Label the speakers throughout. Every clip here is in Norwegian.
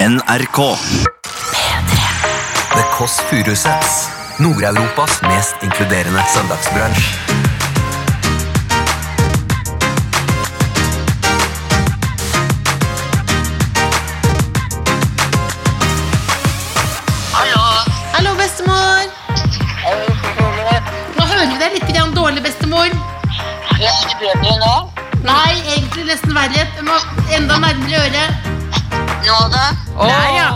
Speaker 1: NRK.
Speaker 2: The Kåss Furuseths. Nord-Europas mest inkluderende søndagsbransj.
Speaker 3: Hallo, bestemor. Nå hører vi deg litt grann dårlig, bestemor.
Speaker 4: Litt bedre nå?
Speaker 3: Nei, egentlig nesten verre. Du må enda nærmere øret.
Speaker 4: Nå da?
Speaker 3: Der, ja.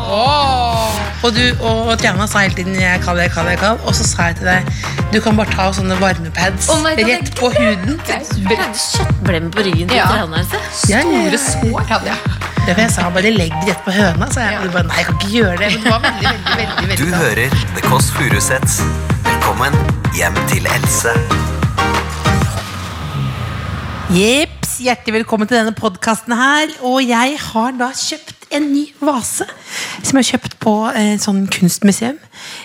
Speaker 3: Og du og, og Triana sa hele tiden 'jeg kall, jeg kall, jeg kall', og så sa jeg til deg 'du kan bare ta sånne varmepads
Speaker 5: Å nei, det er
Speaker 3: rett på huden'.
Speaker 5: Kjøttblemme på ryggen til altså.
Speaker 6: Ja.
Speaker 5: Trondheimse.
Speaker 3: Ja, ja, ja.
Speaker 6: Store sår hadde jeg.
Speaker 3: Det var jeg sa, bare legg det rett på høna, sa jeg. Og du bare 'nei, jeg kan ikke gjøre det'. Men det var veldig, veldig, veldig,
Speaker 2: Du
Speaker 3: veldig bra.
Speaker 2: hører The Kåss Furuseths. Velkommen hjem til Else.
Speaker 3: Jeps, hjertelig velkommen til denne podkasten her. Og jeg har da kjøpt en ny vase. Som jeg har kjøpt på eh, sånn kunstmuseum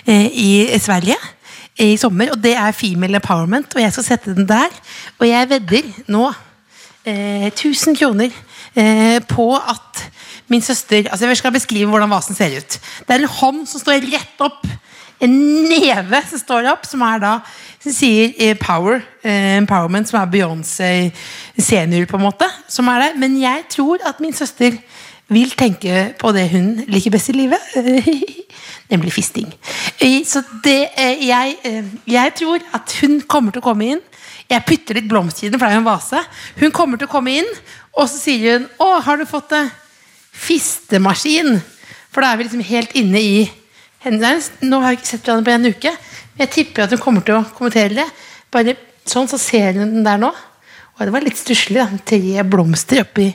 Speaker 3: eh, i Sverige i sommer. Og det er Female Empowerment, og jeg skal sette den der. Og jeg vedder nå eh, 1000 kroner eh, på at min søster Altså Jeg skal beskrive hvordan vasen ser ut. Det er en hånd som står rett opp en neve som står opp, som er da som sier eh, power, eh, empowerment, som er Beyoncé senior, på en måte. som er der. Men jeg tror at min søster vil tenke på det hun liker best i livet, nemlig fisting. Eh, Så det, eh, jeg, eh, jeg tror at hun kommer til å komme inn. Jeg putter litt blomster i den, for det er jo en vase. Hun kommer til å komme inn, og så sier hun 'Å, har du fått det?' fistemaskin. For da er vi liksom helt inne i hendene hennes. Nå har vi ikke sett hverandre på en uke, men jeg tipper at hun kommer til å kommentere det. Bare sånn, så ser hun den der nå. Og det var litt stusslig, da. Tre blomster oppi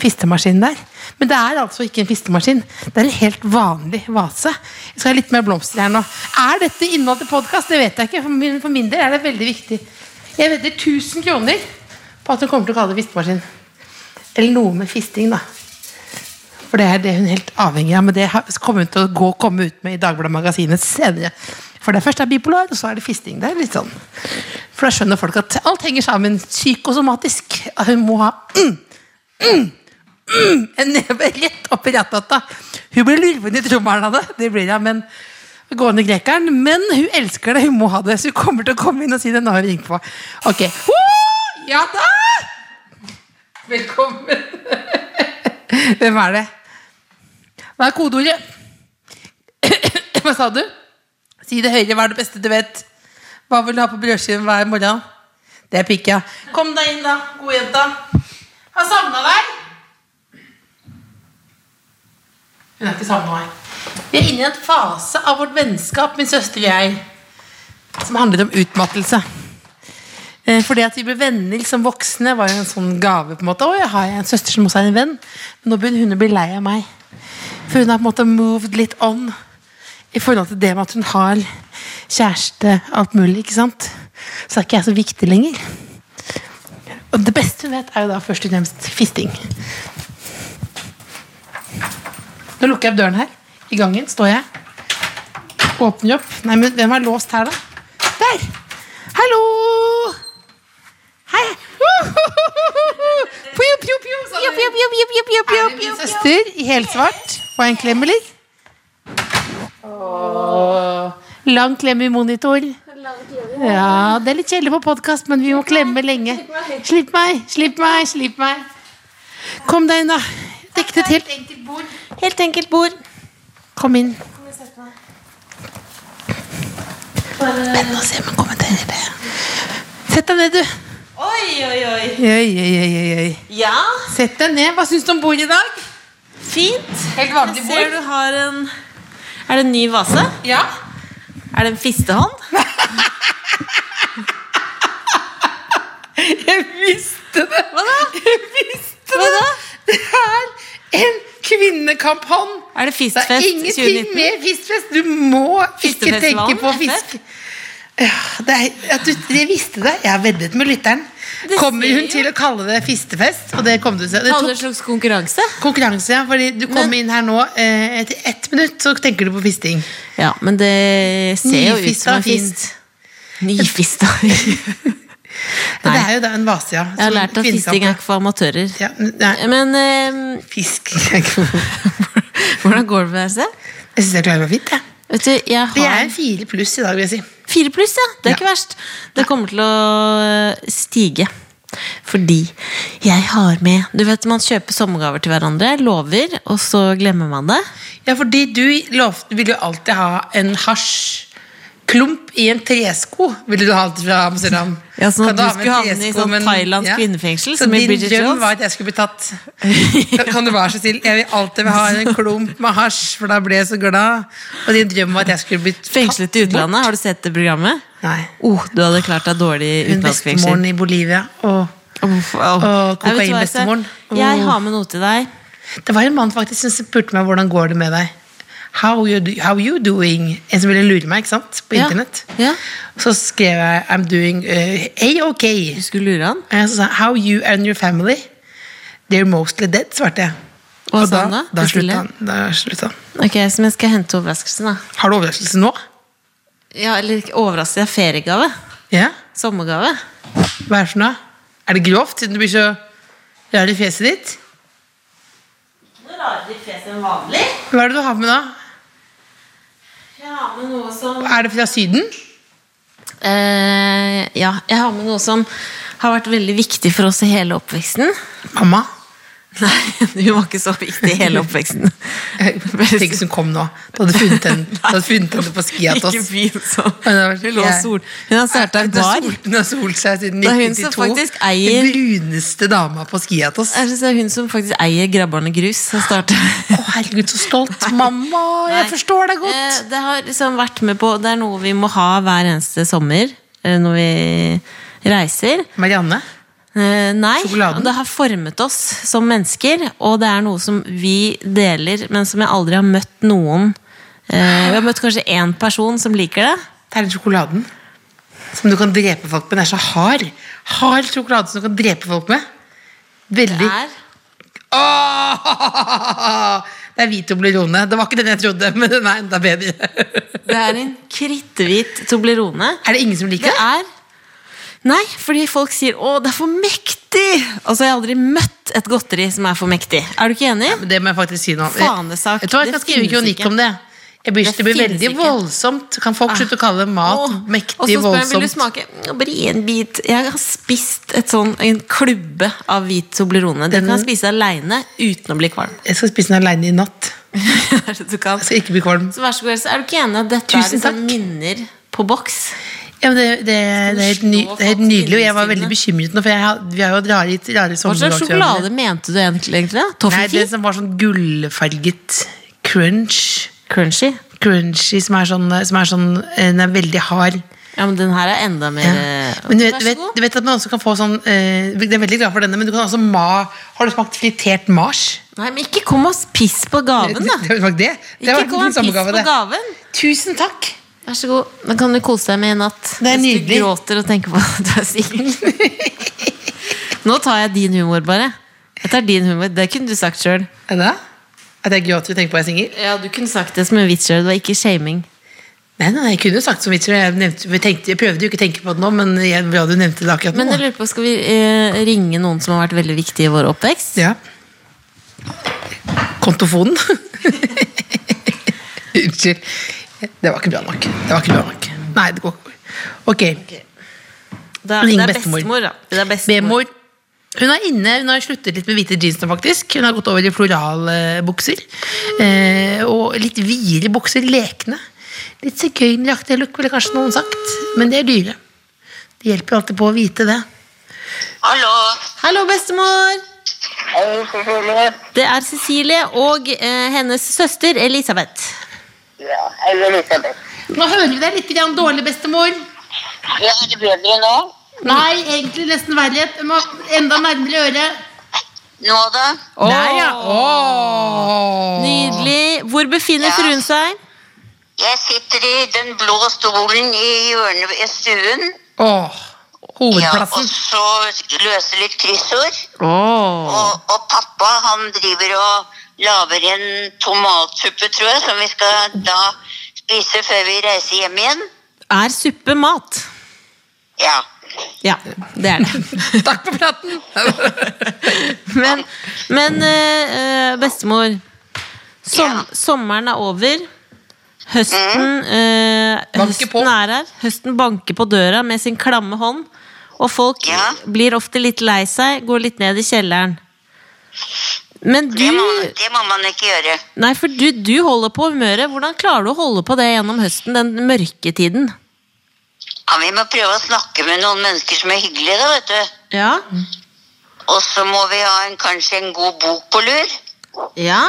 Speaker 3: fistemaskinen der. Men det er altså ikke en fistemaskin. Det er en helt vanlig vase. Jeg skal ha litt mer blomster her nå. Er dette innhold til podkast? Det vet jeg ikke. For min, for min del er det veldig viktig. Jeg vedder 1000 kroner på at hun kommer til å kalle det fistemaskin. Eller noe med fisting, da. For det er det hun er helt avhengig av. Men det har- kommer hun til å gå, komme ut med i Dagbladet Magasinet senere. For det først er bipolar, og så er det fisting. Det er litt sånn. For da skjønner folk at alt henger sammen psykosomatisk. At Hun må ha mm, mm, mm, en neve rett opp i ratata. Hun blir lurven i trommelen av det. Det blir hun, men gående grekeren. Men hun elsker det, hun må ha det. Så hun kommer til å komme inn og si det. Nå har vi ringt på. Ok. Ho! Ja da! Velkommen. Hvem er det? Hva er kodeordet? Hva sa du? Si det høyere, hva er det beste du vet? Hva vil du ha på brødskiven hver morgen? Det er pikk, ja. Kom deg inn, da, gode jenta. Har savna deg. Hun har ikke savna meg. Vi er inne i en fase av vårt vennskap, min søster og jeg, som handler om utmattelse. Eh, For det at vi ble venner som voksne var jo en sånn gave. på en måte. Å, jeg har en søster som også er en venn. Men nå begynner hun å bli lei av meg. For hun har på en måte moved litt on i forhold til det med at hun har kjæreste, alt mulig. ikke sant? Så er ikke jeg så viktig lenger. Og det beste hun vet, er jo da først og fremst fisting. Nå lukker jeg opp døren her. I gangen står jeg. Åpner opp. Nei, men hvem er låst her, da? Der! Hallo! Hei! Pju, pju, pju, sa det. Er det min søster i helsvart og en klem, eller? Lang klem i monitor. Ja, Det er litt kjedelig på podkast, men vi må klemme lenge. Slipp meg, slipp meg, slipp meg. Kom deg inn, da. Dekk det til. Helt enkelt bord. Kom inn. Spennende å se om hun kommenterer det. Sett deg ned, du.
Speaker 5: Oi, oi, oi.
Speaker 3: Oi, oi, oi, oi, oi.
Speaker 5: Ja,
Speaker 3: Sett deg ned. Hva syns du om bordet i dag?
Speaker 5: fint.
Speaker 3: Helt
Speaker 5: Jeg ser du har en Er det en ny vase?
Speaker 3: Ja.
Speaker 5: Er det en fistehånd?
Speaker 3: Jeg visste det!
Speaker 5: Hva da?
Speaker 3: Jeg visste
Speaker 5: Hva
Speaker 3: det!
Speaker 5: da?
Speaker 3: Det er en kvinnekamphånd!
Speaker 5: Er
Speaker 3: Det
Speaker 5: det
Speaker 3: er
Speaker 5: Fistfest
Speaker 3: ingenting
Speaker 5: 2019?
Speaker 3: med Fistfest! Du må ikke
Speaker 5: Fistefestivalen,
Speaker 3: tenke på
Speaker 5: rett og slett.
Speaker 3: fisk. Ja, det er, at du, jeg visste det. Jeg har veddet med lytteren.
Speaker 5: Det
Speaker 3: Kommer
Speaker 5: sier
Speaker 3: hun
Speaker 5: jo.
Speaker 3: til å kalle det fistefest? Og det kom du til. Det
Speaker 5: Alle
Speaker 3: tok
Speaker 5: slags konkurranse?
Speaker 3: konkurranse, ja. Fordi du kom inn her nå. Eh, etter ett minutt så tenker du på fisting.
Speaker 5: Ja, men det ser jo ut
Speaker 3: Nyfista,
Speaker 5: som en fist. Nyfista.
Speaker 3: Det
Speaker 5: Nei.
Speaker 3: er jo da en vase, ja.
Speaker 5: Jeg har lært at fisting er ikke for amatører.
Speaker 3: ja, nei,
Speaker 5: Men eh,
Speaker 3: Fisk er ikke
Speaker 5: Hvordan går det med deg selv?
Speaker 3: Jeg syns jeg klarer meg fint. jeg.
Speaker 5: Vet du, jeg
Speaker 3: Det
Speaker 5: har
Speaker 3: er fire pluss i dag, vil jeg si.
Speaker 5: Fire pluss, ja. Det er
Speaker 3: Ja.
Speaker 5: ikke verst. Det kommer til å øh, stige. Fordi jeg har med Du vet man kjøper sommergaver til hverandre, lover, og så glemmer man det.
Speaker 3: Ja, fordi du lovte, ville jo alltid ha en hasjklump i en tresko. Ville du ha alt fra Amsterdam?
Speaker 5: Ja, sånn at
Speaker 3: Kan ha med en
Speaker 5: du skulle havne i
Speaker 3: tresko,
Speaker 5: sånn
Speaker 3: men-
Speaker 5: thailandsk kvinnefengsel,
Speaker 3: Så
Speaker 5: som i
Speaker 3: din
Speaker 5: Bridget
Speaker 3: drøm
Speaker 5: Jones?
Speaker 3: var at jeg skulle bli tatt. Kan- Kan du være så snill? Jeg vil alltid ha en klump med hasj, for da ble jeg så glad. Og din drøm var at jeg skulle bli tatt
Speaker 5: Fengslet i utlandet. Har du sett det programmet?
Speaker 3: Nei.
Speaker 5: Oh, du hadde klart deg dårlig i
Speaker 3: Hun bestemoren
Speaker 5: utlandsfengsel.
Speaker 3: i Bolivia. Og
Speaker 5: Uff, au.
Speaker 3: Åh,
Speaker 5: Nei, vet du hva, Else?
Speaker 3: kokainbestemoren. Åh.
Speaker 5: Jeg har med noe til deg.
Speaker 3: det var en mann faktisk som spurte meg hvordan går det med deg. How you, do- how you doing? En som ville lure meg, ikke sant? På
Speaker 5: Ja.
Speaker 3: internett.
Speaker 5: Ja.
Speaker 3: Så skrev jeg I'm doing uh, A-OK.
Speaker 5: Du skulle lure han.
Speaker 3: Og jeg sa sånn, How you and your family? They're mostly dead, svarte jeg.
Speaker 5: Og hva sa han da?
Speaker 3: Da
Speaker 5: Til stille?
Speaker 3: slutta han. Da slutta han.
Speaker 5: Ok, så men jeg skal hente overraskelsen, da.
Speaker 3: Har du overraskelse nå?
Speaker 5: Ja, eller ikke overraskelse, det er feriegave.
Speaker 3: Ja?
Speaker 5: Sommergave.
Speaker 3: Hva er det for noe? Er det grovt, siden du blir så rar i fjeset ditt?
Speaker 5: Noe rarere i fjeset enn vanlig.
Speaker 3: Hva er det du har med nå?
Speaker 5: Jeg har med noe som
Speaker 3: Er det fra Syden?
Speaker 5: eh, Ja, jeg har med noe som har vært veldig viktig for oss i hele oppveksten.
Speaker 3: Mamma?
Speaker 5: Nei, hun var ikke så viktig i hele oppveksten.
Speaker 3: Tenk som kom nå. Du hadde funnet henne, du hadde funnet henne på ski hos
Speaker 5: Ikke
Speaker 3: oss.
Speaker 5: begynn sånn.
Speaker 3: Men det var-
Speaker 5: Hun lå og
Speaker 3: jeg-
Speaker 5: sol. Hun har starta en
Speaker 3: Hun har
Speaker 5: bar.
Speaker 3: sol- Hun har solt seg siden
Speaker 5: Det er hun som
Speaker 3: 1992.
Speaker 5: faktisk eier-
Speaker 3: Den bruneste dama på ski hos oss.
Speaker 5: Jeg synes det er hun som faktisk eier Grabbarne grus. Har startet.
Speaker 3: Å, herregud, så stolt. Mamma, jeg
Speaker 5: Nei.
Speaker 3: forstår deg godt.
Speaker 5: Eh, Det har liksom vært med på Det er noe vi må ha hver eneste sommer eh, når vi reiser.
Speaker 3: Marianne?
Speaker 5: Eh, Nei.
Speaker 3: Sjokoladen?
Speaker 5: og Det har formet oss som mennesker, og det er noe som vi deler, men som jeg aldri har møtt noen eh, Vi har møtt kanskje én person som liker det.
Speaker 3: Det er den sjokoladen som du kan drepe folk med. Den er så hard. Hard sjokolade som du kan drepe folk med.
Speaker 5: Det
Speaker 3: Veldig.
Speaker 5: er
Speaker 3: Åh! Det er hvit Toblerone. Det var ikke den jeg trodde, men den er enda bedre. Er
Speaker 5: Det er en kritthvit Toblerone.
Speaker 3: det ingen som liker
Speaker 5: Det
Speaker 3: det?
Speaker 5: er Nei, fordi folk sier 'Å, det er for mektig'! Altså, jeg har aldri møtt et godteri som er for mektig. Er du ikke enig?
Speaker 3: Men Det må jeg faktisk si nå.
Speaker 5: Fanesak.
Speaker 3: Vet du hva, jeg
Speaker 5: Det
Speaker 3: kan skrive en
Speaker 5: finnes
Speaker 3: kronikk
Speaker 5: ikke.
Speaker 3: om det. Jeg blir,
Speaker 5: Det
Speaker 3: det blir
Speaker 5: finnes
Speaker 3: veldig
Speaker 5: ikke. Ah.
Speaker 3: voldsomt. Kan folk slutte å kalle mat
Speaker 5: Åh. Og
Speaker 3: mektig
Speaker 5: så spør jeg, vil du
Speaker 3: voldsomt?
Speaker 5: smake «Nå, bare gi en bit. Jeg har spist et sånn, en klubbe av hvit Toblerone. Den
Speaker 3: Mm.
Speaker 5: kan jeg spise aleine uten å bli kvalm.
Speaker 3: Jeg skal spise den aleine i natt.
Speaker 5: du kan.
Speaker 3: Jeg skal ikke bli kvalm.
Speaker 5: Så vær så god, Else. Er du ikke enig at dette
Speaker 3: Tusen
Speaker 5: er liksom
Speaker 3: takk.
Speaker 5: minner på boks?
Speaker 3: Ja, men det, det, det, er helt ny,
Speaker 5: slå
Speaker 3: det er helt
Speaker 5: folk
Speaker 3: nydelig, og jeg var
Speaker 5: innestinne?
Speaker 3: veldig bekymret nå, for jeg, har- vi har jo hatt rare, rare
Speaker 5: Hva slags
Speaker 3: sommerdagsjobber.
Speaker 5: sjokolade mente du egentlig? egentlig da?
Speaker 3: Nei,
Speaker 5: Toffee?
Speaker 3: det som var sånn gullfarget crunch.
Speaker 5: Crunchy?
Speaker 3: Crunchy, som er sånn, som er sånn eh, Den er veldig hard.
Speaker 5: Ja, men den her er enda mer eh,
Speaker 3: Men du vet,
Speaker 5: Vær
Speaker 3: du
Speaker 5: så
Speaker 3: vet,
Speaker 5: god.
Speaker 3: du vet at man også kan få sånn eh, Jeg er veldig glad for denne, men du kan også ma Har du smakt fritert mars?
Speaker 5: Nei, men ikke kom og piss på
Speaker 3: Det,
Speaker 5: gaven,
Speaker 3: det,
Speaker 5: da.
Speaker 3: det, var det. det
Speaker 5: Ikke
Speaker 3: var
Speaker 5: kom
Speaker 3: den
Speaker 5: og piss
Speaker 3: samme gave,
Speaker 5: på
Speaker 3: det.
Speaker 5: gaven.
Speaker 3: Tusen takk!
Speaker 5: Vær så god. Da kan du kose deg med i natt.
Speaker 3: Det er nydelig.
Speaker 5: Hvis du gråter og tenker på at du er singel. Nå tar jeg din humor, bare. Jeg tar din humor. Det kunne du sagt sjøl.
Speaker 3: Er det? At jeg gråter og tenker på at jeg er singel?
Speaker 5: Ja, du kunne sagt det som en vits sjøl. Det var ikke shaming.
Speaker 3: Nei, nei, jeg kunne jo sagt som vitser. Jeg, nevnte, jeg, tenkte, jeg prøvde jo ikke å tenke på det nå, men jeg, ja, du nevnte det akkurat nå.
Speaker 5: Men jeg lurer på, skal vi eh, ringe noen som har vært veldig viktig i vår oppvekst?
Speaker 3: Ja. Kontofonen. Unnskyld. Det var ikke bra nok. Det var ikke bra nok. Nei, det går ikke. Ok.
Speaker 5: Det er,
Speaker 3: Ring
Speaker 5: det er
Speaker 3: bestemor.
Speaker 5: bestemor, da. Det er bestemor.
Speaker 3: Bemor. Hun er inne, hun har sluttet litt med hvite jeans nå, faktisk. Hun har gått over i floralbukser. Eh, og litt videre bukser. Lekne. Litt sigøyneraktig look, ville kanskje noen sagt. Men det er dyre. Det hjelper alltid på å vite det.
Speaker 4: Hallo.
Speaker 5: Hallo, bestemor!
Speaker 4: Hei, Cecilie.
Speaker 5: Det er Cecilie og eh, hennes søster Elisabeth.
Speaker 4: Ja, hei, Elisabeth.
Speaker 3: Nå hører vi deg litt grann dårlig, bestemor.
Speaker 4: Ja, er det bedre nå?
Speaker 3: Nei, egentlig nesten verre. Jeg må Enda nærmere øret.
Speaker 4: Nå da?
Speaker 3: Der, ja. Åh.
Speaker 5: Nydelig. Hvor befinner
Speaker 4: Ja.
Speaker 5: fruen seg?
Speaker 4: Jeg sitter i den blå stolen i hjørnet i stuen.
Speaker 3: Åh.
Speaker 4: Ja, og
Speaker 3: Hovedplassen.
Speaker 4: så løser litt kryssord.
Speaker 5: Oh.
Speaker 4: Og, og pappa, han driver og laver en tomatsuppe, tror jeg, som vi skal da spise før vi reiser hjem igjen.
Speaker 5: Er suppe mat?
Speaker 4: Ja.
Speaker 5: Ja, det er det.
Speaker 3: Takk for praten!
Speaker 5: Men, men eh, eh, bestemor, Som,
Speaker 4: Ja. Mm.
Speaker 5: Sommeren er over. Høsten, eh,
Speaker 3: Banker på.
Speaker 5: høsten er her. Høsten banker på døra med sin klamme hånd. Og folk
Speaker 4: Ja.
Speaker 5: blir ofte litt lei seg, går litt ned i kjelleren. Men du
Speaker 4: Det må, det må man ikke gjøre.
Speaker 5: Nei, for du, du holder på humøret. Hvordan klarer du å holde på det gjennom høsten, den mørketiden?
Speaker 4: Ja, vi må prøve å snakke med noen mennesker som er hyggelige, da, vet du.
Speaker 5: Ja.
Speaker 4: Og så må vi ha en, kanskje en god bok på lur.
Speaker 5: Ja.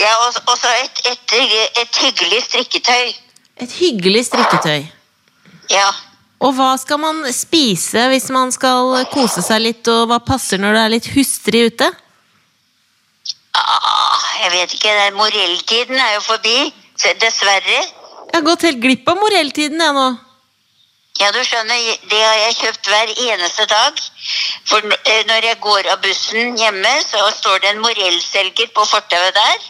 Speaker 4: Ja, og og så et, et, et hyggelig strikketøy.
Speaker 5: Et hyggelig strikketøy.
Speaker 4: Ja.
Speaker 5: Og hva skal man spise hvis man skal kose seg litt, og hva passer når det er litt hustrig ute?
Speaker 4: Ah, jeg vet ikke, den morelltiden er jo forbi. så Dessverre.
Speaker 5: Jeg har gått helt glipp av morelltiden, jeg nå.
Speaker 4: Ja, du skjønner, det har jeg kjøpt hver eneste dag. For n- eh, når jeg går av bussen hjemme, så står det en morellselger på fortauet der.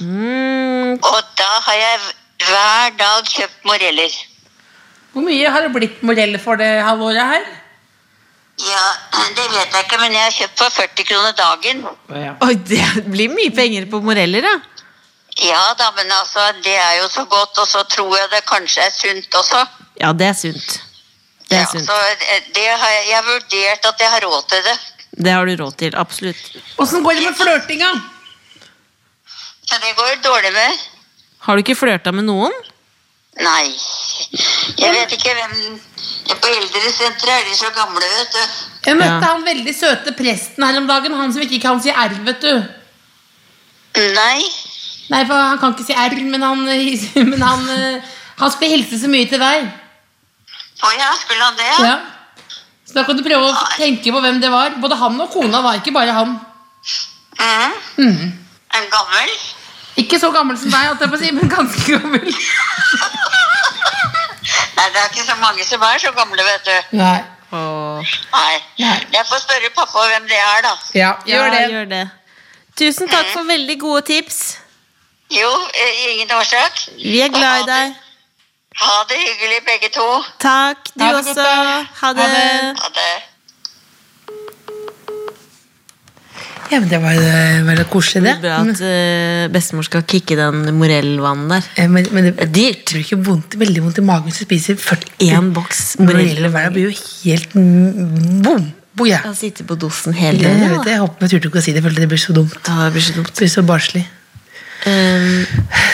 Speaker 5: Mm,
Speaker 4: Og da har jeg hver dag kjøpt moreller.
Speaker 3: Hvor mye har det blitt moreller for det halvåret her?
Speaker 4: Ja, det vet jeg ikke, men jeg har kjøpt for 40 kroner dagen.
Speaker 5: oi, det blir mye penger på moreller, ja.
Speaker 4: Ja da, men altså, det er jo så godt, og så tror jeg det kanskje er sunt også.
Speaker 5: Ja, det er sunt. Det er
Speaker 4: Ja,
Speaker 5: sunt.
Speaker 4: så eh, det har jeg, jeg har vurdert at jeg har råd til det.
Speaker 5: Det har du råd til, absolutt.
Speaker 3: Åssen går det med flørtinga?
Speaker 4: Men det går jo dårlig med.
Speaker 5: Har du ikke flørta med noen?
Speaker 4: Nei. Jeg vet ikke hvem På eldresenteret er de så gamle, vet du.
Speaker 3: Jeg møtte
Speaker 5: Ja.
Speaker 3: han veldig søte presten her om dagen. Han som ikke kan si R, vet du.
Speaker 4: Nei.
Speaker 3: Nei, for han kan ikke si R, men han, men han, eh, han skulle hilse så mye til deg.
Speaker 4: Å ja, skulle han det?
Speaker 3: Ja. Så da kan du prøve å tenke på hvem det var. Både han og kona var ikke bare han.
Speaker 4: Mhm. En gammel?
Speaker 3: Ikke så gammel som deg, holdt jeg på å si, men ganske gammel.
Speaker 4: Nei, det er ikke så mange som er så gamle, vet du.
Speaker 3: Nei.
Speaker 5: Åh.
Speaker 4: Nei.
Speaker 3: Nei.
Speaker 4: Jeg får spørre pappa hvem det er, da.
Speaker 3: Ja, gjør det.
Speaker 5: Ja, gjør det. Tusen takk for veldig gode tips.
Speaker 4: Jo, eh, ingen årsak.
Speaker 5: Vi er glad i deg.
Speaker 4: Ha det hyggelig, begge to.
Speaker 5: Takk, du
Speaker 3: Ha det godt,
Speaker 5: også.
Speaker 3: da.
Speaker 5: Ha
Speaker 3: Ha
Speaker 5: det.
Speaker 3: det.
Speaker 4: Ha det.
Speaker 3: Ja, men Det var, eh, var det koselig,
Speaker 5: Det er bra at eh, bestemor skal kicke den morellvannen der.
Speaker 3: Eh, Men, men det
Speaker 5: Det er dyrt.
Speaker 3: blir ikke vondt, veldig vondt i magen hvis du spiser 41
Speaker 5: Én boks
Speaker 3: moreller
Speaker 5: moreller
Speaker 3: hver dag. blir jo helt mm, bom! Boja.
Speaker 5: Kan sitte på dosen hele
Speaker 3: Jeg, vet,
Speaker 5: døgnet.
Speaker 3: det. jeg håper jeg turte ikke å si det, for det blir så dumt.
Speaker 5: da. Det blir så dumt.
Speaker 3: Det blir så barnslig.
Speaker 5: Ehm,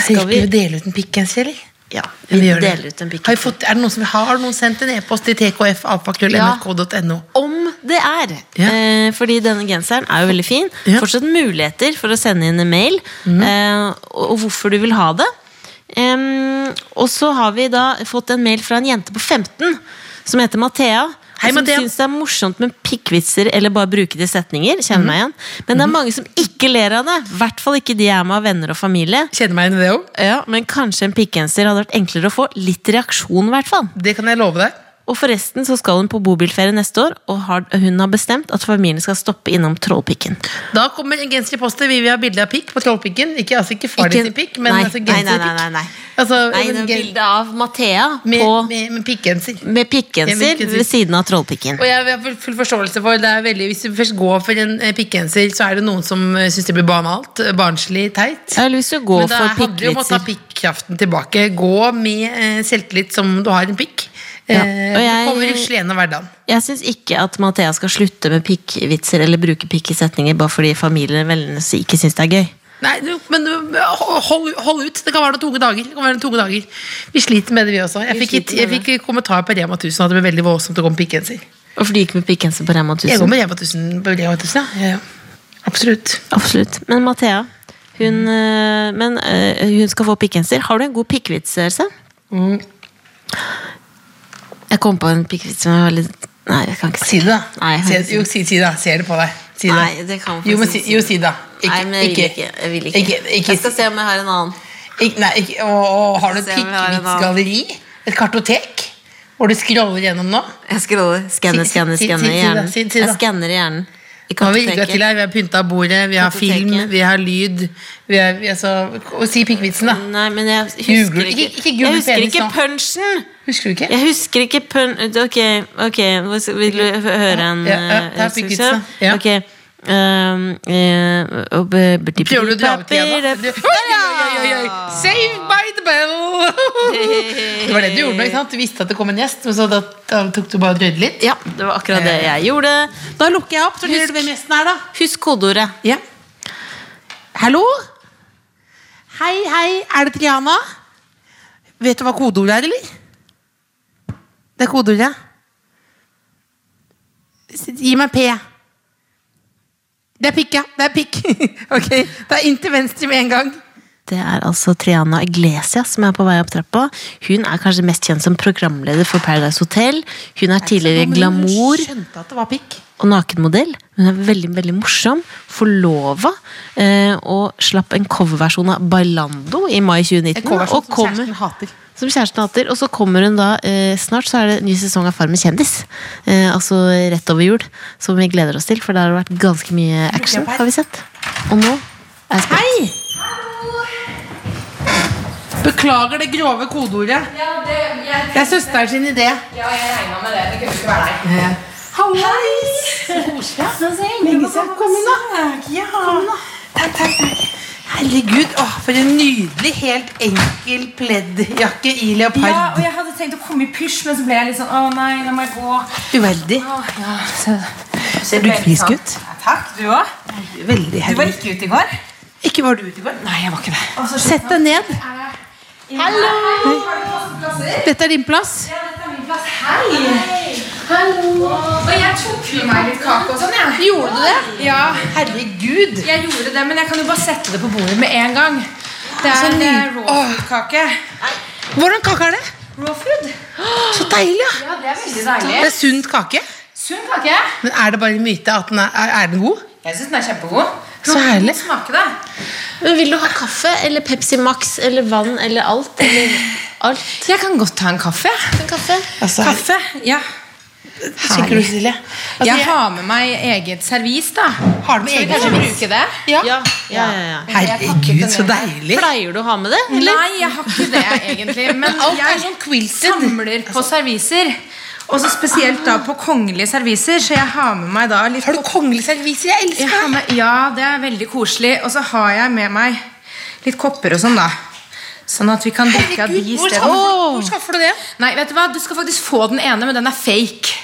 Speaker 3: Skal
Speaker 5: skal
Speaker 3: vi
Speaker 5: vi
Speaker 3: dele ut en pikkens, eller?
Speaker 5: Ja,
Speaker 3: Ja,
Speaker 5: vi
Speaker 3: gjør det.
Speaker 5: deler ut en
Speaker 3: Har, vi
Speaker 5: pikkens.
Speaker 3: fått, er det noen som vil ha, har noen sendt en e-post til tkf.nrk.no?
Speaker 5: Om det er!
Speaker 3: Ja.
Speaker 5: Eh, fordi denne genseren er jo veldig fin.
Speaker 3: Ja. Mhm.
Speaker 5: Fortsatt muligheter for å sende inn en mail eh, og og hvorfor du vil ha det. Ehm, og så har vi da fått en mail fra en jente på 15 som heter Mathea.
Speaker 3: Hei,
Speaker 5: og som
Speaker 3: Mathea.
Speaker 5: syns det er morsomt med pikkvitser eller bare bruke det i setninger.
Speaker 3: Mhm.
Speaker 5: Kjenner meg igjen Men det er mange som ikke ler av det. I hvert fall ikke de jeg er med av venner og familie.
Speaker 3: Kjenner meg igjen i det òg.
Speaker 5: Ja, Men kanskje en pikkgenser hadde vært enklere å få litt reaksjon. i hvert fall
Speaker 3: Det kan jeg love deg.
Speaker 5: Og forresten så skal hun på bobilferie neste år, og har, hun har bestemt at familien skal stoppe innom Trollpikken.
Speaker 3: Da kommer en genser i posten. Vi vil ha bilde av pikk på trollpikken. Ikke, altså, ikke far
Speaker 5: Ikke-
Speaker 3: din sin pikk, men
Speaker 5: nei,
Speaker 3: altså,
Speaker 5: nei, nei,
Speaker 3: genser i
Speaker 5: nei,
Speaker 3: pikk.
Speaker 5: nei, nei.
Speaker 3: Altså,
Speaker 5: Nei, det
Speaker 3: men
Speaker 5: er
Speaker 3: gen-
Speaker 5: bildet av Mathea
Speaker 3: med,
Speaker 5: på, med,
Speaker 3: med, med pikkgenser. Ja,
Speaker 5: pikkgenser
Speaker 3: men-
Speaker 5: ved siden av Trollpikken.
Speaker 3: Og jeg har full- full forståelse for det er veldig, Hvis du først går for en eh, pikkgenser, så er det noen som eh, syns det blir banalt, eh, barnslig, teit.
Speaker 5: Jeg har lyst til å gå
Speaker 3: Men da
Speaker 5: for
Speaker 3: handler det om å ta
Speaker 5: pikkvitser.
Speaker 3: pikkraften tilbake. Gå med eh, selvtillit som du har en pikk.
Speaker 5: Ja,
Speaker 3: Eh,
Speaker 5: og
Speaker 3: du
Speaker 5: jeg-
Speaker 3: kommer rusle gjennom hverdagen.
Speaker 5: Jeg syns ikke at Mathea skal slutte med pikkvitser eller bruke pikk i setninger bare fordi familien og vennene ikke syns det er gøy.
Speaker 3: Nei, du, men du, hold, hold ut. Det kan være noen tunge dager. Det kan være noen tunge dager. Vi sliter med det, vi også. Jeg
Speaker 5: Vi
Speaker 3: fikk, et-
Speaker 5: sliter
Speaker 3: jeg
Speaker 5: med
Speaker 3: fikk kommentar på Rema 1000 at det ble veldig voldsomt å gå med pikkgenser.
Speaker 5: Hvorfor du gikk med pikkgenser på Rema
Speaker 3: Jeg går
Speaker 5: 1000?
Speaker 3: med Rema 1000 på Rema 1000, ja. ja, ja. Absolutt.
Speaker 5: Absolutt. Men Mathea, hun,
Speaker 3: Mm.
Speaker 5: øh, men, øh, hun skal få pikkgenser. Har du en god pikkvits, Else?
Speaker 3: Mm.
Speaker 5: Jeg kom på en pikkvits som var veldig Nei, jeg kan ikke
Speaker 3: Si det, da.
Speaker 5: Nei, jeg har
Speaker 3: si,
Speaker 5: ikke-
Speaker 3: jo, si, si det. da. Ser det på deg. Si
Speaker 5: Nei, det kan man
Speaker 3: jo, men si,
Speaker 5: faktisk
Speaker 3: jo, si det. da. Ikke,
Speaker 5: Nei, men jeg vil ikke. Jeg, vil ikke.
Speaker 3: ikke, ikke,
Speaker 5: jeg skal se om jeg har en annen.
Speaker 3: ikke, nei, ikke å, å, Har du et
Speaker 5: Se om vi har en annen.
Speaker 3: pikkvitsgalleri? Et kartotek? Hvor du scroller gjennom nå?
Speaker 5: Jeg scroller. Skanner,
Speaker 3: Si- si-
Speaker 5: skanner,
Speaker 3: si- si- si
Speaker 5: skanner i
Speaker 3: det,
Speaker 5: hjernen.
Speaker 3: si- si det.
Speaker 5: Jeg skanner i hjernen. I
Speaker 3: Nå har vi rigga til
Speaker 5: kartoteket.
Speaker 3: her. Vi har pynta bordet, vi har film,
Speaker 5: Kartoteket.
Speaker 3: vi har lyd. Vi har, vi har så, og si pikkvitsen, da.
Speaker 5: Nei, men jeg
Speaker 3: Google-
Speaker 5: husker ikke
Speaker 3: ikke- ikke Google
Speaker 5: Jeg husker
Speaker 3: penis
Speaker 5: ikke
Speaker 3: nå.
Speaker 5: punchen!
Speaker 3: Husker du ikke?
Speaker 5: Jeg husker ikke pun... Ok, ok, hva skal- vil du hø- høre en
Speaker 3: Ja, ja,
Speaker 5: eh,
Speaker 3: det er
Speaker 5: skal vi
Speaker 3: pikkvitsen,
Speaker 5: se?
Speaker 3: ja.
Speaker 5: Ok, ehm, eh,
Speaker 3: Gjør du det av og til igjen, da? Du- Oi, oi, oi, oi, oi. Save by the bell! Det var det du gjorde nå, ikke sant? Du visste at det kom en gjest, men så da, da tok du bare og drøyde litt.
Speaker 5: Ja, det var akkurat det jeg gjorde.
Speaker 3: Da lukker jeg opp. Så
Speaker 5: Husk-
Speaker 3: hører du hvem gjesten er, da.
Speaker 5: Husk kodeordet.
Speaker 3: Ja. Hallo? Hei, hei, er det Triana? Vet du hva kodeordet er, eller? Det er kodeordet. S- Gi meg P. Det er pikk, ja. Det er pikk. ok, Det er inn til venstre med en gang.
Speaker 5: Det er altså Triana Iglesias som er på vei opp trappa. Hun er kanskje mest kjent som programleder for Paradise Hotel. Hun er
Speaker 3: sånn
Speaker 5: tidligere glamour
Speaker 3: Hun skjønte at det var pikk.
Speaker 5: og nakenmodell. Hun er veldig veldig morsom, forlova, eh, og slapp en coverversjon av Bailando i mai 2019.
Speaker 3: Coverversjon
Speaker 5: og
Speaker 3: sånn som
Speaker 5: kommer-
Speaker 3: kjæresten hater.
Speaker 5: Som kjæresten hater. Og så kommer hun da eh, Snart så er det ny sesong av Farm med kjendis. Eh, altså rett over jul, som vi gleder oss til, for der har det vært ganske mye action.
Speaker 3: Lukker jeg opp her?
Speaker 5: har vi sett Og nå er jeg spent.
Speaker 3: Hei! Beklager det grove kodeordet. det er søsteren sin idé. Ja, jeg regna med det. Det kunne ikke være deg. Hei! Så koselig. Lenge siden. Kom inn, da. Ja. Takk, takk, takk. Herregud, åh, for en nydelig, helt enkel pleddjakke i
Speaker 1: Ja,
Speaker 3: leopard.
Speaker 1: og jeg hadde tenkt å komme i pysj, men så ble jeg litt sånn Å nei, nå må jeg gå.
Speaker 3: Uveldig.
Speaker 1: Åh, ja, så,
Speaker 3: Ser du frisk ut?
Speaker 1: sånn, Takk, du òg.
Speaker 3: Veldig
Speaker 1: Du var
Speaker 3: herlig.
Speaker 1: ikke ute i går?
Speaker 3: Ikke var du ute i går?
Speaker 1: Nei, jeg var ikke det.
Speaker 3: Sett deg ned.
Speaker 1: Hallo!
Speaker 3: Dette er din plass.
Speaker 1: Og jeg tok med meg litt kake og sånn, jeg.
Speaker 3: Gjorde du det?
Speaker 1: Ja,
Speaker 3: Herregud.
Speaker 1: jeg gjorde det, men jeg kan jo bare sette det på bordet med en gang. Det er en eh, raw food-kake.
Speaker 3: Hvordan kake er det?
Speaker 1: Raw food?
Speaker 3: Så deilig, ja.
Speaker 1: Ja, det er veldig
Speaker 3: Det
Speaker 1: deilig.
Speaker 3: er sunt kake.
Speaker 1: Sunn kake.
Speaker 3: Men er det bare en myte at den er, er- er den god?
Speaker 1: Jeg syns den er kjempegod.
Speaker 3: Så herlig.
Speaker 1: Smake det.
Speaker 5: Men vil du ha kaffe eller Pepsi Max eller vann eller alt? Eller alt?
Speaker 1: Jeg kan godt ta en kaffe.
Speaker 5: En kaffe?
Speaker 3: Altså,
Speaker 1: Kaffe, ja.
Speaker 3: Tenker du, Silje? Altså,
Speaker 1: jeg
Speaker 3: jeg
Speaker 1: har med meg eget servis, da.
Speaker 3: har det med
Speaker 1: Skal vi
Speaker 3: egen
Speaker 1: kanskje
Speaker 3: servise.
Speaker 1: bruke det?
Speaker 3: Ja.
Speaker 5: Ja, ja, ja, ja.
Speaker 3: Herregud, så deilig.
Speaker 5: Pleier du å ha med det? Eller?
Speaker 1: Nei, jeg har ikke det, egentlig. Men
Speaker 3: Alt er
Speaker 1: jeg
Speaker 3: sånn quilted. Altså-
Speaker 1: samler på serviser. Og så spesielt da på kongelige serviser, så jeg har med meg da litt
Speaker 3: Har du kongelig servise? Jeg
Speaker 1: jeg
Speaker 3: elsker
Speaker 1: har
Speaker 3: det.
Speaker 1: med, Ja, det er veldig koselig. Og så har jeg med meg litt kopper og sånn, da. Sånn at vi kan drikke av de
Speaker 3: Herregud, hvor,
Speaker 1: isteden.
Speaker 3: skaffer, hvor skaffer du det?
Speaker 1: Nei, vet du hva? Du skal faktisk få den ene, men den er fake.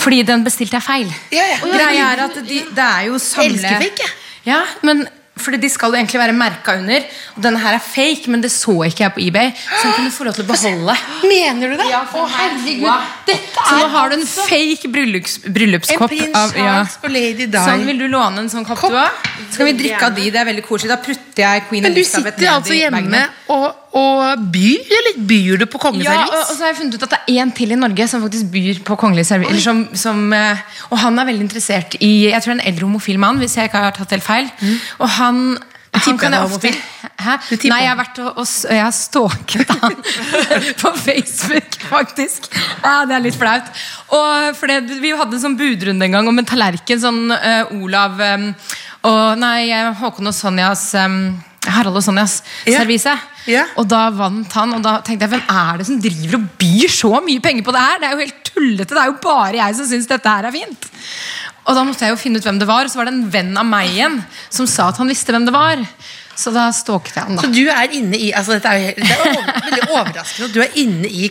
Speaker 1: Fordi den bestilte jeg feil.
Speaker 3: Ja, ja.
Speaker 1: Greia er at de, det er jo samle...
Speaker 3: elsker fake, jeg.
Speaker 1: Ja, men fordi de skal jo egentlig være merka under. Og denne her er fake, men det så ikke jeg på eBay. Så den kunne du få lov til å beholde.
Speaker 3: Mener du det?
Speaker 1: Ja, for
Speaker 3: Å,
Speaker 1: meg.
Speaker 3: herregud.
Speaker 1: Wow.
Speaker 3: Dette
Speaker 1: Så
Speaker 3: er
Speaker 1: nå
Speaker 3: altså
Speaker 1: har du en fake bryllups,
Speaker 3: en
Speaker 1: bryllupskopp.
Speaker 3: prins
Speaker 1: av- ja.
Speaker 3: Charles og lady Di.
Speaker 1: Sånn vil du låne en sånn kopp,
Speaker 3: Kopp.
Speaker 1: du òg? Skal vi drikke av de? Det er veldig koselig. Da prutter jeg Queen
Speaker 3: Men du
Speaker 1: Elizabeth
Speaker 3: sitter altså hjemme og, og byr, eller byr du på kongelig
Speaker 1: Ja, og, og
Speaker 3: servise?
Speaker 1: så har jeg funnet ut at det er én til i Norge som faktisk byr på kongelig servis. Eller som, som, eh, og han er veldig interessert i Jeg tror det er en eldre homofil mann, hvis jeg ikke har tatt helt feil. Og han
Speaker 3: Mm. tipper
Speaker 1: han
Speaker 3: han
Speaker 1: kan
Speaker 3: er
Speaker 1: jeg ofte,
Speaker 3: homofil.
Speaker 1: Hæ?
Speaker 3: Du tipper
Speaker 1: Nei, jeg
Speaker 3: han.
Speaker 1: har vært og, og s- jeg har stalket han på Facebook, faktisk. Ja, det er litt flaut. Og for det, Vi hadde en sånn budrunde en gang om en tallerken. Sånn eh, Olav eh, og Nei, eh, Håkon og Sonjas eh, Harald og Sonjas
Speaker 3: Ja.
Speaker 1: servise.
Speaker 3: Ja.
Speaker 1: Og da vant han, og da tenkte jeg hvem er det som driver og byr så mye penger på det her? Det er jo helt tullete, det er jo bare jeg som syns dette her er fint. Og da måtte jeg jo finne ut hvem det var, og så var det en venn av meg igjen som sa at han visste hvem det var. Så da stalket jeg han,
Speaker 3: Så
Speaker 1: da.
Speaker 3: du er inne i altså Dette er jo helt- det er jo over, veldig overraskende at du er inne i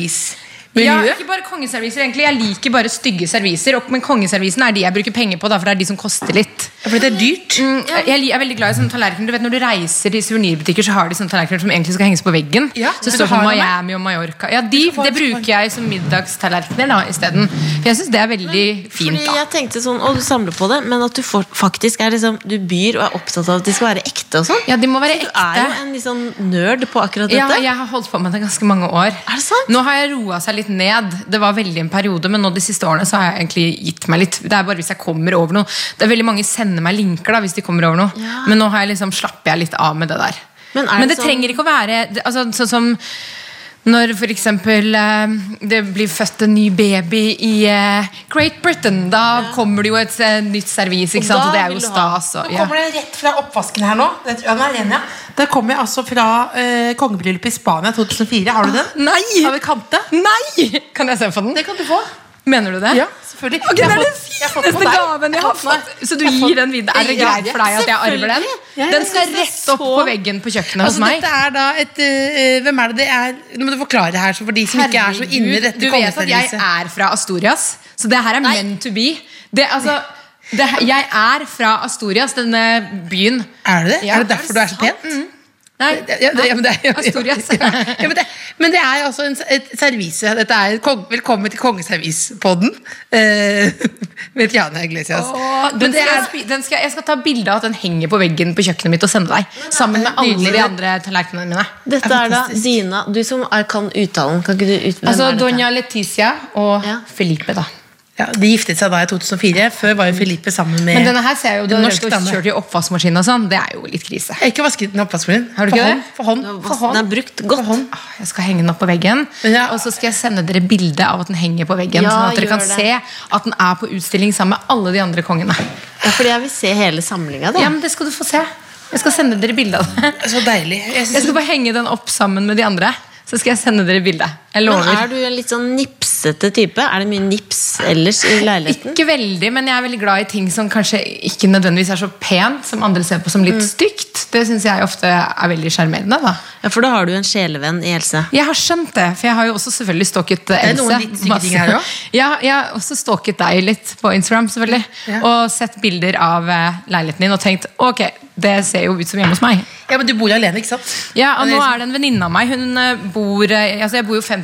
Speaker 1: Ja,
Speaker 3: kongeservisemiljøet.
Speaker 1: ikke bare kongeserviser, egentlig. Jeg liker bare stygge serviser. og- Men kongeservisene er de jeg bruker penger på, da, for det er de som koster litt.
Speaker 3: For det er dyrt.
Speaker 1: Mm, Jeg li- er veldig glad i sånne tallerkener. Du vet, Når du reiser til suvenirbutikker, så har de sånne tallerkener som egentlig skal henges på veggen.
Speaker 3: Ja,
Speaker 1: så
Speaker 3: men du
Speaker 1: står det på
Speaker 3: har dem
Speaker 1: Miami og Mallorca. Ja, de,
Speaker 3: få
Speaker 1: Det
Speaker 3: et-
Speaker 1: bruker jeg som middagstallerkener da, isteden. For jeg syns det er veldig fint.
Speaker 5: Fordi
Speaker 1: da
Speaker 5: jeg tenkte sånn, å du samler på det, men at du får, faktisk er liksom, du byr og er opptatt av at de skal være ekte og sånn.
Speaker 1: Ja, de må være
Speaker 5: Du er jo
Speaker 1: ekte.
Speaker 5: en litt sånn nerd på akkurat
Speaker 1: Ja,
Speaker 5: dette.
Speaker 1: jeg har holdt på med det ganske mange år.
Speaker 5: Er det sant?
Speaker 1: Nå har jeg roa seg litt ned. Det var veldig en periode, men nå de siste årene så har jeg egentlig gitt meg litt. Det er bare hvis jeg kommer over noe. Det er veldig mange sender meg linker da, hvis de kommer over noe.
Speaker 5: Ja.
Speaker 1: Men nå har jeg liksom, slapper jeg litt av med det der.
Speaker 5: Men
Speaker 1: Men,
Speaker 5: er
Speaker 1: det
Speaker 5: det sånn-
Speaker 1: trenger ikke å være det- altså, sånn som når for eksempel eh, det blir født en ny baby i eh, Great Britain, da kommer det jo et eh, nytt servis, ikke sant?
Speaker 5: da
Speaker 1: Og det er
Speaker 5: vil
Speaker 1: jo
Speaker 5: du ha-
Speaker 1: stas. Og,
Speaker 3: Nå
Speaker 1: ja.
Speaker 3: kommer det rett fra oppvasken her nå. Det tror jeg den er ren, ja. Der kommer jeg altså fra eh, kongebryllupet i Spania 2004. Har du den?
Speaker 1: Nei!
Speaker 3: Over kante.
Speaker 1: Nei! Kan jeg se på den?
Speaker 3: Ah, Det kan du få.
Speaker 1: Mener du det?
Speaker 3: Ja, selvfølgelig.
Speaker 1: Ok, det
Speaker 3: Jeg
Speaker 1: er
Speaker 3: har
Speaker 1: den
Speaker 3: fått- jeg har fått den
Speaker 1: fineste
Speaker 3: av deg.
Speaker 1: gaven jeg har
Speaker 3: den av
Speaker 1: fått. Så du gir den videre? Er det
Speaker 3: Ja,
Speaker 1: greit for deg at jeg arver den?
Speaker 5: selvfølgelig.
Speaker 3: Ja, jeg
Speaker 1: Den skal
Speaker 5: synes det er
Speaker 1: rett opp
Speaker 5: så-
Speaker 1: på veggen på kjøkkenet hos
Speaker 3: Altså,
Speaker 1: meg.
Speaker 3: dette er da et eh, Hvem er det det er? Nå må du forklare her, så for de som ikke er så inne i dette
Speaker 1: du vet at jeg
Speaker 3: kongeserviset.
Speaker 1: er fra Astorias, så det her er meant to be. Det, altså, det, jeg er fra Astorias, denne byen.
Speaker 3: Er du det?
Speaker 1: Ja,
Speaker 3: er det derfor du er så
Speaker 1: sant?
Speaker 3: pen?
Speaker 1: Mm. Nei,
Speaker 3: Ja, ja, det- ja, men det er- ja,
Speaker 1: Astorias.
Speaker 3: ja, ja, men, det, men det er altså en, et servise. Dette er kong, velkommen til kongeservispodden. Eh, med Tiana Iglesias.
Speaker 1: Åh,
Speaker 3: Men
Speaker 1: den
Speaker 3: det
Speaker 1: skal, jeg
Speaker 3: er,
Speaker 1: spi- den skal, jeg skal ta bilde av at den henger på veggen på kjøkkenet mitt og sende deg. Sammen med alle
Speaker 3: Nydelig.
Speaker 1: de andre tallerkenene mine.
Speaker 5: Dette er da Dina Du som er, kan uttalen, kan ikke du ut, hvem
Speaker 1: Altså
Speaker 5: er dette?
Speaker 1: Doña Leticia og
Speaker 5: Ja.
Speaker 1: Felipe, da.
Speaker 3: ja, de giftet seg da i 2004. Før var jo Felipe sammen
Speaker 5: Eh,
Speaker 3: med
Speaker 1: Men denne her ser jeg jo, du har
Speaker 3: norsk
Speaker 1: drevet og
Speaker 3: dame.
Speaker 1: kjørt i oppvaskmaskinen og sånn. Det er jo litt krise.
Speaker 3: Jeg har ikke vasket den oppvaskmaskinen.
Speaker 1: Har du
Speaker 3: For
Speaker 1: ikke
Speaker 3: hånd,
Speaker 1: det?
Speaker 3: For hånd. For hånd.
Speaker 5: Den er brukt godt.
Speaker 3: For hånd.
Speaker 1: Åh, Ah, Jeg skal henge den opp på veggen,
Speaker 3: Ja.
Speaker 1: og så skal jeg sende dere bilde av at den henger på veggen.
Speaker 5: Ja,
Speaker 1: sånn at dere
Speaker 5: gjør
Speaker 1: kan
Speaker 5: det.
Speaker 1: se at den er på utstilling sammen med alle de andre kongene.
Speaker 5: Ja, fordi jeg vil se hele samlinga.
Speaker 1: Ja, men Det skal du få se. Jeg skal sende dere bilde av det.
Speaker 3: Så deilig. Jeg
Speaker 1: Jeg
Speaker 3: synes,
Speaker 1: skal bare henge den opp sammen med de andre. Så skal jeg sende dere bilde.
Speaker 5: Men
Speaker 1: Jeg lover.
Speaker 5: er du en litt sånn nipsete type? Er det mye nips ellers i leiligheten?
Speaker 1: Ikke veldig, men jeg er veldig glad i ting som kanskje ikke nødvendigvis er så pent, som andre ser på som
Speaker 5: Mm.
Speaker 1: litt stygt. Det syns jeg ofte er veldig sjarmerende. da.
Speaker 5: Ja, For da har du en sjelevenn i Else.
Speaker 1: Jeg har skjønt det, for jeg har jo også selvfølgelig stalket eh,
Speaker 3: er
Speaker 1: Else.
Speaker 3: noen litt stygge ting
Speaker 1: masse.
Speaker 3: her også.
Speaker 1: Ja, jeg har også stalket deg litt på Instagram, selvfølgelig.
Speaker 3: Ja.
Speaker 1: Og sett bilder av eh, leiligheten din og tenkt ok, det ser jo ut som hjemme hos meg.
Speaker 3: ja, men du bor jo alene, ikke sant?
Speaker 1: Ja, og
Speaker 3: Men
Speaker 1: nå
Speaker 3: det-
Speaker 1: er det en venninne av meg. Hun eh, bor, eh, altså jeg bor jo 50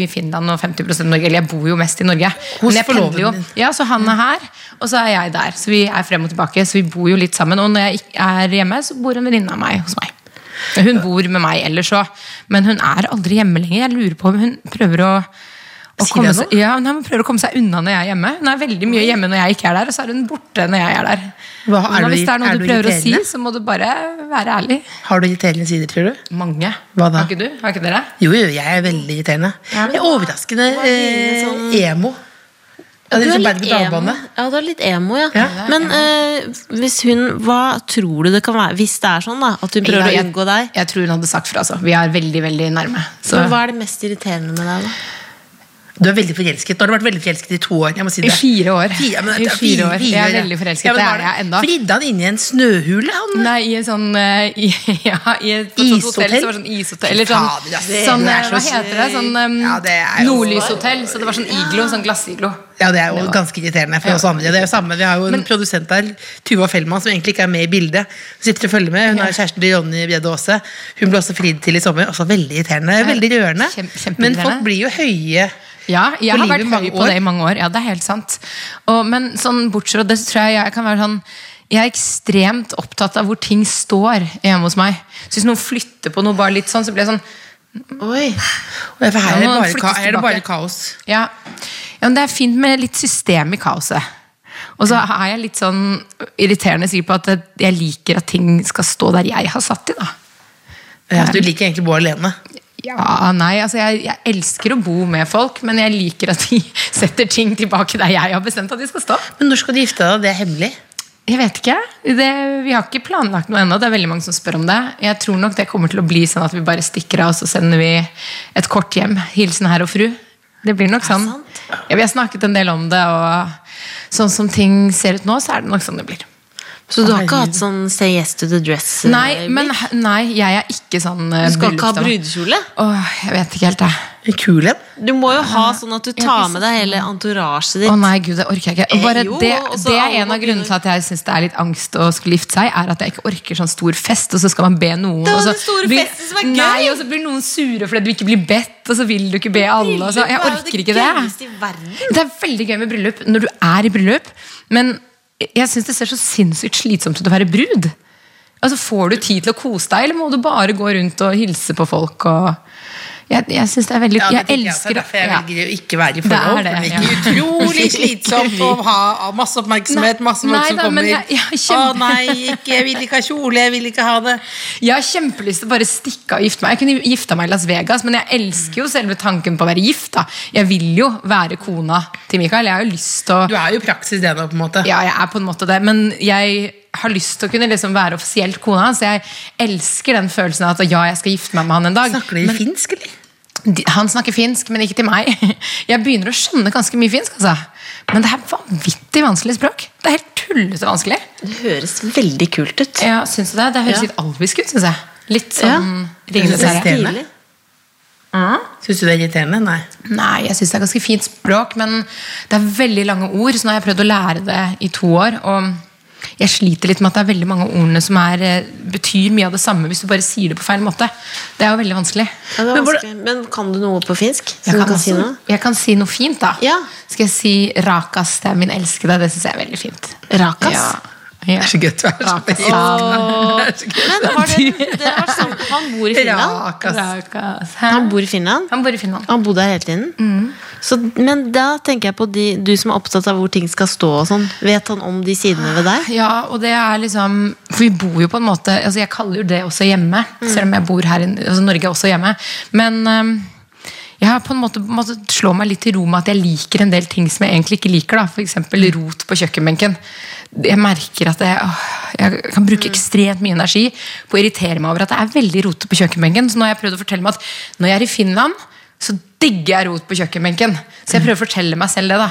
Speaker 1: i Finland og 50 i Norge. Eller jeg bor jo mest i Norge.
Speaker 3: Hos
Speaker 1: Men jeg pendler jo.
Speaker 3: forloveden din. Mm.
Speaker 1: Ja, Så han er her, og så er jeg der. Så vi er frem og tilbake, så vi bor jo litt sammen. Og når jeg ikke er hjemme, så bor en venninne av meg hos meg. Hun bor med meg ellers òg, men hun er aldri hjemme lenger. Jeg lurer på om hun prøver å å
Speaker 3: Sier
Speaker 1: komme
Speaker 3: det
Speaker 1: seg, ja, nei, Hun prøver å komme seg unna når jeg er hjemme. Hun er veldig mye hjemme når jeg ikke er der, og så er hun borte når jeg er der.
Speaker 3: Hva, er
Speaker 1: Men
Speaker 3: du-
Speaker 1: hvis det er noe
Speaker 3: er
Speaker 1: du
Speaker 3: du
Speaker 1: prøver å si,
Speaker 3: irriterende?
Speaker 1: så må du bare være ærlig.
Speaker 3: Har du irriterende sider, tror du?
Speaker 1: Mange.
Speaker 3: Hva da?
Speaker 1: Har ikke du? Har ikke dere?
Speaker 3: Jo, jo, jeg er veldig irriterende. Jeg er overraskende eh,
Speaker 1: sånn-
Speaker 3: emo. Ja, det er
Speaker 5: Du er
Speaker 3: liksom
Speaker 5: litt
Speaker 3: berg- og dalbane.
Speaker 5: emo. Ja, du er litt emo, ja.
Speaker 3: Ja.
Speaker 5: Men eh, hvis hun Hva tror du det kan være? Hvis det er sånn, da, at hun prøver
Speaker 1: Ja,
Speaker 5: å
Speaker 1: jeg-
Speaker 5: unngå deg.
Speaker 1: Jeg tror hun hadde sagt fra. Altså. Vi er veldig veldig nærme. Så.
Speaker 5: Men hva er det mest irriterende med deg, da?
Speaker 3: Du er veldig forelsket. Nå har du vært veldig forelsket i to år. Jeg må si
Speaker 1: I
Speaker 3: det.
Speaker 1: fire år.
Speaker 3: Fire, men,
Speaker 1: I
Speaker 3: det er
Speaker 1: fire år. Jeg er
Speaker 3: ja.
Speaker 1: veldig forelsket.
Speaker 3: Ja, men
Speaker 1: det
Speaker 3: var
Speaker 1: er jeg ennå.
Speaker 3: Fridde han inn i en snøhule, han?
Speaker 1: Nei, i et sånn eh, i, Ja, i et på et sånt
Speaker 3: Ishotell?
Speaker 1: hotell. Så var det sånn ishotell eller sånn,
Speaker 3: Fader, ass.
Speaker 1: sånn
Speaker 3: Det er
Speaker 1: eh, Hva
Speaker 3: så
Speaker 1: heter det? Sånn um,
Speaker 3: Ja, det er jo-
Speaker 1: nordlyshotell. Så det var sånn iglo. Sånn glassiglo.
Speaker 3: Ja, det er jo ganske irriterende for
Speaker 1: Ja.
Speaker 3: oss andre. Det er jo samme, Vi har jo en produsent der, Tuva Fellmann, som egentlig ikke er med i bildet. Hun sitter og følger med. Hun er kjæresten til Jonny Bredde Aase. Hun ble også fridd til i sommer. Også veldig irriterende. Veldig rørende.
Speaker 1: Kjem- kjempeirriterende.
Speaker 3: Men folk blir jo høye.
Speaker 1: Ja, jeg
Speaker 3: På
Speaker 1: har
Speaker 3: livet
Speaker 1: vært
Speaker 3: i mange
Speaker 1: høy på
Speaker 3: år.
Speaker 1: det i mange år. Ja, det er helt sant. Og, men sånn bortsett fra det, så tror jeg jeg kan være sånn jeg er ekstremt opptatt av hvor ting står hjemme hos meg. Så hvis noen flytter på noe bare litt sånn, så blir jeg sånn
Speaker 5: Oi.
Speaker 3: Og for her
Speaker 1: Ja,
Speaker 3: er det
Speaker 1: nå
Speaker 3: bare,
Speaker 1: flyttes
Speaker 3: ka- her er det bare
Speaker 1: tilbake.
Speaker 3: kaos.
Speaker 1: Ja. ja, men det er fint med litt system i kaoset. Og så er jeg litt sånn irriterende sikker på at jeg liker at ting skal stå der jeg har satt de, da.
Speaker 3: Ja, Altså, du liker egentlig å bo alene.
Speaker 1: Ja, nei, altså jeg, jeg elsker å bo med folk, men jeg liker at de setter ting tilbake der jeg har bestemt at de skal stå.
Speaker 3: Men når skal du gifte deg? da? Det er hemmelig.
Speaker 1: Jeg vet ikke. Det, vi har ikke planlagt noe ennå. Det er veldig mange som spør om det. Jeg tror nok det kommer til å bli sånn at vi bare stikker av, og så sender vi et kort hjem. Hilsen herr og fru. Det blir nok sånn. Ja, vi har snakket en del om det, og sånn som ting ser ut nå, så er det nok sånn det blir.
Speaker 5: Så du har ikke hatt sånn say yes to the dress? eh,
Speaker 1: Nei, men nei, jeg er ikke sånn eh,
Speaker 5: Du skal ikke ha
Speaker 1: bryllupsdame.
Speaker 5: brudekjole?
Speaker 1: Åh, jeg vet ikke helt, jeg.
Speaker 3: Kul en.
Speaker 5: Du må jo ha sånn at du
Speaker 1: jeg har
Speaker 5: tar
Speaker 1: ikke
Speaker 5: med deg hele entourasjet ditt.
Speaker 1: Å nei, gud, det orker jeg ikke. Og Bare
Speaker 5: Eh, jo,
Speaker 1: det,
Speaker 5: og så
Speaker 1: det er
Speaker 5: alle
Speaker 1: en
Speaker 5: må
Speaker 1: av grunnene
Speaker 5: begynne-
Speaker 1: til at jeg syns det er litt angst å skulle gifte seg, er at jeg ikke orker sånn stor fest, og så skal man be noen.
Speaker 5: Det er
Speaker 1: og
Speaker 5: jo
Speaker 1: så
Speaker 5: den store
Speaker 1: blir-
Speaker 5: festen som er gøy!
Speaker 1: Nei, og så blir noen sure fordi du ikke blir bedt, og så vil du ikke be alle. Og så. Jeg
Speaker 5: Bryllup er jo
Speaker 1: orker ikke det.
Speaker 5: gøyeste i verden.
Speaker 1: Det er veldig gøy med bryllup når du er i bryllup, men jeg syns det ser så sinnssykt slitsomt ut å være brud. Altså, Får du tid til å kose deg, eller må du bare gå rundt og hilse på folk? og... Jeg, jeg synes det er veldig...
Speaker 3: Ja, det
Speaker 1: jeg
Speaker 3: tenker
Speaker 1: elsker
Speaker 3: jeg også. Derfor jeg
Speaker 1: ja.
Speaker 3: velger å ikke være i
Speaker 1: Det
Speaker 3: forhold.
Speaker 1: er det,
Speaker 3: for det virker utrolig slitsomt å ha ha masse oppmerksomhet,
Speaker 1: Nei,
Speaker 3: masse folk
Speaker 1: nei
Speaker 3: som
Speaker 1: da, men
Speaker 3: kommer.
Speaker 1: jeg- jeg er
Speaker 3: Å
Speaker 1: kjempe-
Speaker 3: nei, ikke, jeg vil ikke ha kjole, jeg vil ikke ha det.
Speaker 1: Jeg har kjempelyst til å bare stikke av og gifte meg. Jeg kunne gifta meg i Las Vegas, men jeg elsker jo selve tanken på å være gift. da. Jeg vil jo være kona til Michael. Jeg har jo lyst til å
Speaker 3: Du er jo praksis det nå, på en måte.
Speaker 1: Ja, jeg er på en måte det, men jeg har lyst til å kunne liksom være offisielt kona hans. Jeg elsker den følelsen av at ja, jeg skal gifte meg med han en dag.
Speaker 3: Snakker du i finsk, eller?
Speaker 1: de- Han snakker finsk, men ikke til meg. Jeg begynner å skjønne ganske mye finsk, altså. Men det er vanvittig vanskelig språk. Det er helt tullete vanskelig.
Speaker 5: Det høres veldig kult ut.
Speaker 1: Ja, syns du det? Det høres
Speaker 5: Ja.
Speaker 1: litt albisk ut, syns jeg. Litt sånn
Speaker 5: Ja.
Speaker 1: Ringenes
Speaker 3: Det er
Speaker 1: herre.
Speaker 3: irriterende.
Speaker 5: Stilig.
Speaker 3: Syns du det er irriterende? Nei.
Speaker 1: Nei, jeg syns det er ganske fint språk, men det er veldig lange ord, så nå har jeg prøvd å lære det i to år. Og jeg sliter litt med at det er veldig mange av ordene som er, eh, betyr mye av det samme hvis du bare sier det på feil måte. Det er jo veldig vanskelig.
Speaker 5: Ja, det er
Speaker 3: Men hvordan-
Speaker 5: vanskelig. Men kan du noe på finsk? som
Speaker 1: Jeg
Speaker 5: du
Speaker 1: kan,
Speaker 5: kan si
Speaker 1: også-
Speaker 5: noe?
Speaker 1: jeg kan si noe fint, da.
Speaker 5: Ja.
Speaker 1: Skal jeg si 'Rakas, det er min elskede'? Det syns jeg er veldig fint.
Speaker 5: Rakas?
Speaker 1: Ja. Ja.
Speaker 3: Det er så gøy at du er så
Speaker 1: Rakas.
Speaker 5: Men har dere, dere har vært sammen, han bor i Finland?
Speaker 3: Rakas.
Speaker 1: Rakas.
Speaker 5: Han
Speaker 1: Han bor,
Speaker 5: bor i Finland?
Speaker 1: han Mm. bor i Finland.
Speaker 5: Han bodde her hele tiden? Så, men da tenker jeg på de, du som er opptatt av hvor ting skal stå og sånn. Vet han om de sidene ved deg?
Speaker 1: Ja, og det er liksom For vi bor jo på en måte altså Jeg kaller jo det også hjemme,
Speaker 3: Mm.
Speaker 1: selv om jeg bor her i altså Norge er også hjemme. Men øhm, jeg har på en måte måtte slå meg litt til ro med at jeg liker en del ting som jeg egentlig ikke liker. da F.eks.
Speaker 3: Mm.
Speaker 1: rot på kjøkkenbenken. Jeg merker at jeg, åh, jeg kan
Speaker 3: Mm.
Speaker 1: bruke ekstremt mye energi på å irritere meg over at det er veldig rot på kjøkkenbenken. Så nå har jeg prøvd å fortelle meg at når jeg er i Finland, så digger jeg rot på kjøkkenbenken. Så
Speaker 3: Mm.
Speaker 1: jeg prøver å fortelle meg selv det. da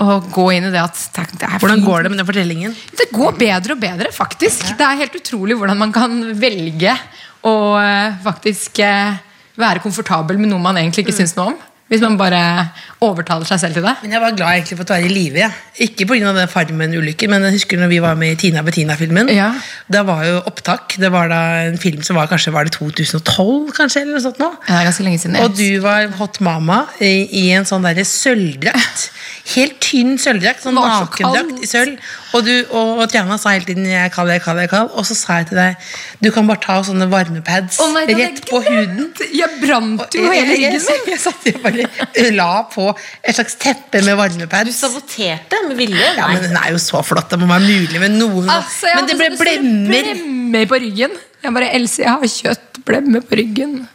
Speaker 1: Og gå inn i det at det er
Speaker 3: Hvordan
Speaker 1: fint
Speaker 3: går det med den fortellingen?
Speaker 1: det går bedre og bedre, faktisk. Det er helt utrolig hvordan man kan velge å eh, faktisk eh, være komfortabel med noe man egentlig
Speaker 3: Mm.
Speaker 1: ikke syns noe om. Hvis man bare overtaler seg selv til det.
Speaker 3: Men jeg var glad egentlig for at du er i live. Ja. Ikke pga. den Farmen-ulykken, men jeg husker når vi var med i Tina Bettina-filmen.
Speaker 1: Ja.
Speaker 3: Da var jo opptak. Det var da en film som var kanskje var det 2012, kanskje? eller noe sånt nå.
Speaker 1: Det er ganske lenge siden. jeg-
Speaker 3: Og du var hot mama i, i en sånn derre sølvdrakt. Helt tynn sølvdrakt. Sånn
Speaker 1: Det var så
Speaker 3: nakendrakt
Speaker 1: kaldt.
Speaker 3: i sølv. Og, du, og, og Triana sa hele tiden 'jeg er kald, jeg er kald', jeg er kald. Og så sa jeg til deg 'du kan bare ta sånne varmepads
Speaker 1: Å nei, det er
Speaker 3: rett på huden'.
Speaker 1: Jeg brant jo
Speaker 3: jeg,
Speaker 1: hele ryggen min!
Speaker 3: jeg, jeg satt jo bare la på et slags teppe med varmepad.
Speaker 5: Du saboterte med vilje?
Speaker 3: Ja, men den er jo så flott. Det må være mulig med noen
Speaker 1: Altså, jeg
Speaker 3: Men det ble
Speaker 1: hadde sånne
Speaker 3: blemmer.
Speaker 1: blemmer på ryggen. Jeg bare Else, jeg har kjøttblemmer på ryggen.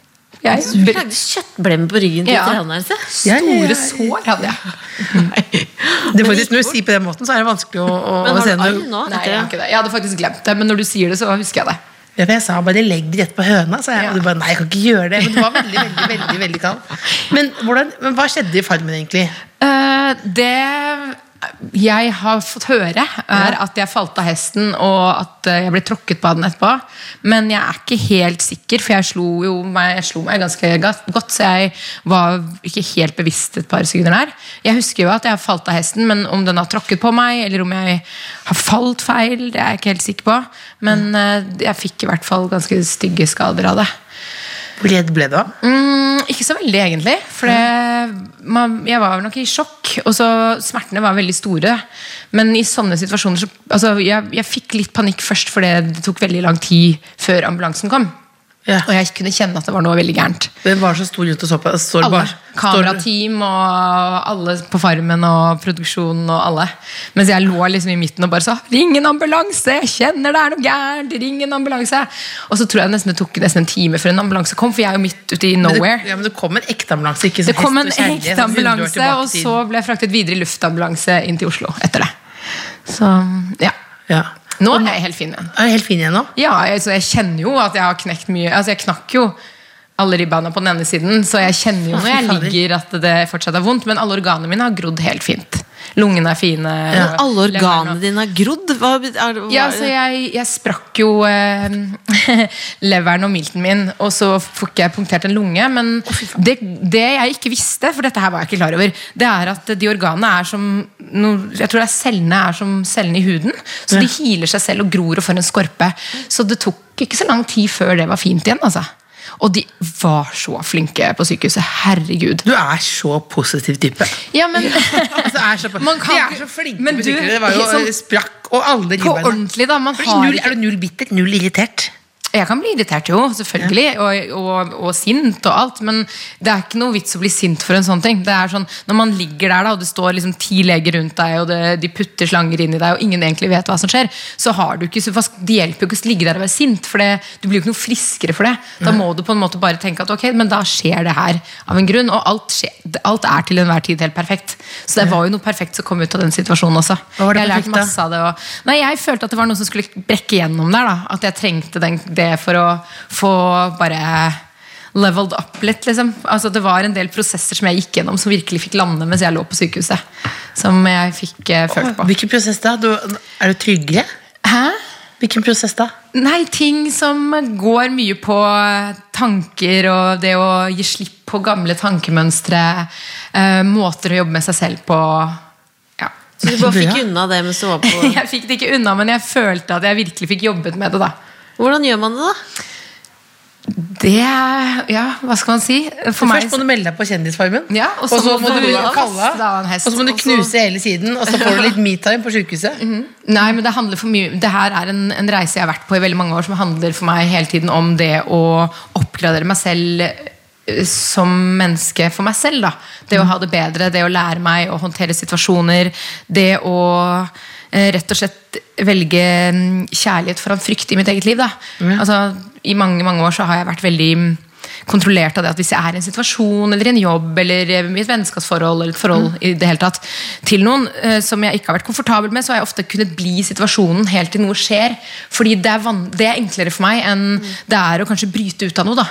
Speaker 5: Du
Speaker 1: Jeg,
Speaker 5: lagde kjøttblemme på ryggen til
Speaker 1: Ja.
Speaker 5: Trane, altså.
Speaker 3: Altså, Ja, ja, ja.
Speaker 1: store sår hadde jeg.
Speaker 3: Det er faktisk, når du sier på den måten, så er det vanskelig å, å,
Speaker 5: Men
Speaker 3: å
Speaker 5: har
Speaker 3: se
Speaker 5: du arm
Speaker 3: noe.
Speaker 5: nå?
Speaker 1: Nei, jeg, har ikke det. jeg hadde faktisk glemt det, men når du sier det, så husker jeg det.
Speaker 3: Ja, for jeg sa bare 'legg det rett på høna', sa jeg.
Speaker 1: Ja.
Speaker 3: Og du bare 'nei, jeg kan ikke gjøre det'. Men det var veldig, veldig, veldig, veldig kald. Men, hvordan, men hva skjedde i Farmen, egentlig?
Speaker 1: Eh, det jeg har fått høre, er at jeg falt av hesten, og at eh, jeg ble tråkket på av den etterpå. Men jeg er ikke helt sikker, for jeg slo, jo meg, jeg slo meg ganske ga- godt, så jeg var ikke helt bevisst et par sekunder der. Jeg husker jo at jeg har falt av hesten, men om den har tråkket på meg, eller om jeg har falt feil, det er jeg ikke helt sikker på. Men eh, jeg fikk i hvert fall ganske stygge skader av det.
Speaker 3: Hvor redd ble du? av?
Speaker 1: Mm, ikke så veldig, egentlig. For det, man, jeg var nok i sjokk. Og så smertene var veldig store. Men i sånne situasjoner så, altså, jeg, jeg fikk litt panikk først, for det tok veldig lang tid før ambulansen kom.
Speaker 3: Ja.
Speaker 1: Og jeg kunne kjenne at det var noe veldig gærent.
Speaker 3: Hvem var så stor rundt og så på? Står det
Speaker 1: Alle.
Speaker 3: bare- står det-
Speaker 1: Kamerateam og alle på Farmen og produksjonen og alle. Mens jeg lå liksom i midten og bare sa 'ring en ambulanse', jeg kjenner det er noe gærent, ring en ambulanse. Og så tror jeg nesten det tok nesten en time før en ambulanse kom, for jeg er jo midt ute i
Speaker 3: Men det,
Speaker 1: nowhere.
Speaker 3: ja, men det kom en ekte ambulanse, ikke
Speaker 1: Det
Speaker 3: sånn
Speaker 1: kom en
Speaker 3: hest og kjerre,
Speaker 1: ekte
Speaker 3: sånn 100 år
Speaker 1: ambulanse,
Speaker 3: tilbake
Speaker 1: og
Speaker 3: i
Speaker 1: så ble jeg fraktet videre i luftambulanse inn til Oslo etter det. Så
Speaker 3: tiden.
Speaker 1: ja.
Speaker 3: ja.
Speaker 1: Nå er jeg helt fin igjen.
Speaker 3: Er du helt fin igjen nå?
Speaker 1: Ja, altså, jeg kjenner jo at jeg har knekt mye. Altså, jeg knakk jo alle ribbeina på den ene siden, så jeg kjenner jo når jeg
Speaker 3: fader.
Speaker 1: ligger at det fortsatt er vondt, men alle organene mine har grodd helt fint. Lungene er fine. og
Speaker 5: Alle
Speaker 1: leveren og-
Speaker 5: organene dine har grodd? Hva, bet- er, hva,
Speaker 1: Mm. ja, så jeg, jeg sprakk jo eh, leveren og milten min, og så fikk jeg punktert en lunge. Men det, det jeg ikke visste, for dette her var jeg ikke klar over, det er at de organene er som no, Jeg tror det er cellene er som cellene i huden. Så de hiler seg selv og gror og får en skorpe. Så det tok ikke så lang tid før det var fint igjen, altså. Og de var så flinke på sykehuset. Herregud.
Speaker 3: Du er så positiv type.
Speaker 1: Ja, men
Speaker 3: Altså, er så,
Speaker 1: Man kan
Speaker 3: de er
Speaker 1: ikke-
Speaker 3: så flinke
Speaker 1: Men
Speaker 3: på
Speaker 1: du,
Speaker 3: sykler. Det var jo
Speaker 1: sånn-
Speaker 3: sprakk og alle
Speaker 1: på
Speaker 3: ribbeina.
Speaker 1: ordentlig, da.
Speaker 3: Er
Speaker 1: Man
Speaker 3: du
Speaker 1: har
Speaker 3: null-
Speaker 1: ikke
Speaker 3: Er du null bitter? Null irritert?
Speaker 1: Jeg kan bli irritert jo, selvfølgelig, og, og, og sint og alt, men det er ikke noe vits å bli sint for en sånn ting. Det er sånn, Når man ligger der, da, og det står liksom ti leger rundt deg, og det, de putter slanger inn i deg, og ingen egentlig vet hva som skjer, så har du ikke, så hva- det hjelper jo ikke å ligge der og være sint, for det, du blir jo ikke noe friskere for det. Da må du på en måte bare tenke at ok, men da skjer det her av en grunn, og alt, skje, alt er til enhver tid helt perfekt. Så det var jo noe perfekt som kom ut av den situasjonen også.
Speaker 3: Hva var det
Speaker 1: jeg har lært
Speaker 3: perfekte?
Speaker 1: masse av det. Og, nei, jeg følte at det var noe som skulle brekke gjennom der. da At jeg trengte den, det for å få bare leveled up litt. Liksom. Altså, det var en del prosesser som jeg gikk gjennom som virkelig fikk lande mens jeg lå på sykehuset. Som jeg fikk eh, følt på.
Speaker 3: Hvilken prosess da? Du, er du tryggere?
Speaker 1: Hæ?
Speaker 3: Hvilken prosess da?
Speaker 1: Nei, ting som går mye på tanker og det å gi slipp på gamle tankemønstre. eh, måter å jobbe med seg selv på. Ja.
Speaker 5: Så du bare fikk
Speaker 3: Ja.
Speaker 5: unna det mens du var på
Speaker 1: Jeg fikk det ikke unna, men jeg følte at jeg virkelig fikk jobbet med det. da.
Speaker 5: Hvordan gjør man det, da?
Speaker 1: Det er- Ja, hva skal man si? For meg
Speaker 3: Først må du melde deg på Kjendisfarmen.
Speaker 1: Ja, og
Speaker 3: og
Speaker 1: så
Speaker 3: så
Speaker 1: må
Speaker 3: må
Speaker 1: du
Speaker 3: du
Speaker 1: holde av
Speaker 3: kalle
Speaker 1: fast av en
Speaker 3: av.
Speaker 1: hest,
Speaker 3: Og så må du
Speaker 1: og så- Mhm.
Speaker 3: knuse hele siden, og så får du litt metime på sjukehuset.
Speaker 1: Nei, men det handler for mye Det her er en, en reise jeg har vært på i veldig mange år, som handler for meg hele tiden om det å oppgradere meg selv eh, som menneske for meg selv. da Det
Speaker 3: Mm.
Speaker 1: å ha det bedre, det å lære meg å håndtere situasjoner. Det å eh, rett og slett velge mm, kjærlighet foran frykt i mitt eget liv. da Altså, I mange mange år så har jeg vært veldig mm, kontrollert av det at hvis jeg er i en situasjon eller i en jobb eller i et vennskapsforhold eller et forhold i det hele tatt til noen eh, som jeg ikke har vært komfortabel med, så har jeg ofte kunnet bli i situasjonen helt til noe skjer. Fordi det er, van det er enklere for meg enn det er å kanskje bryte ut av noe. da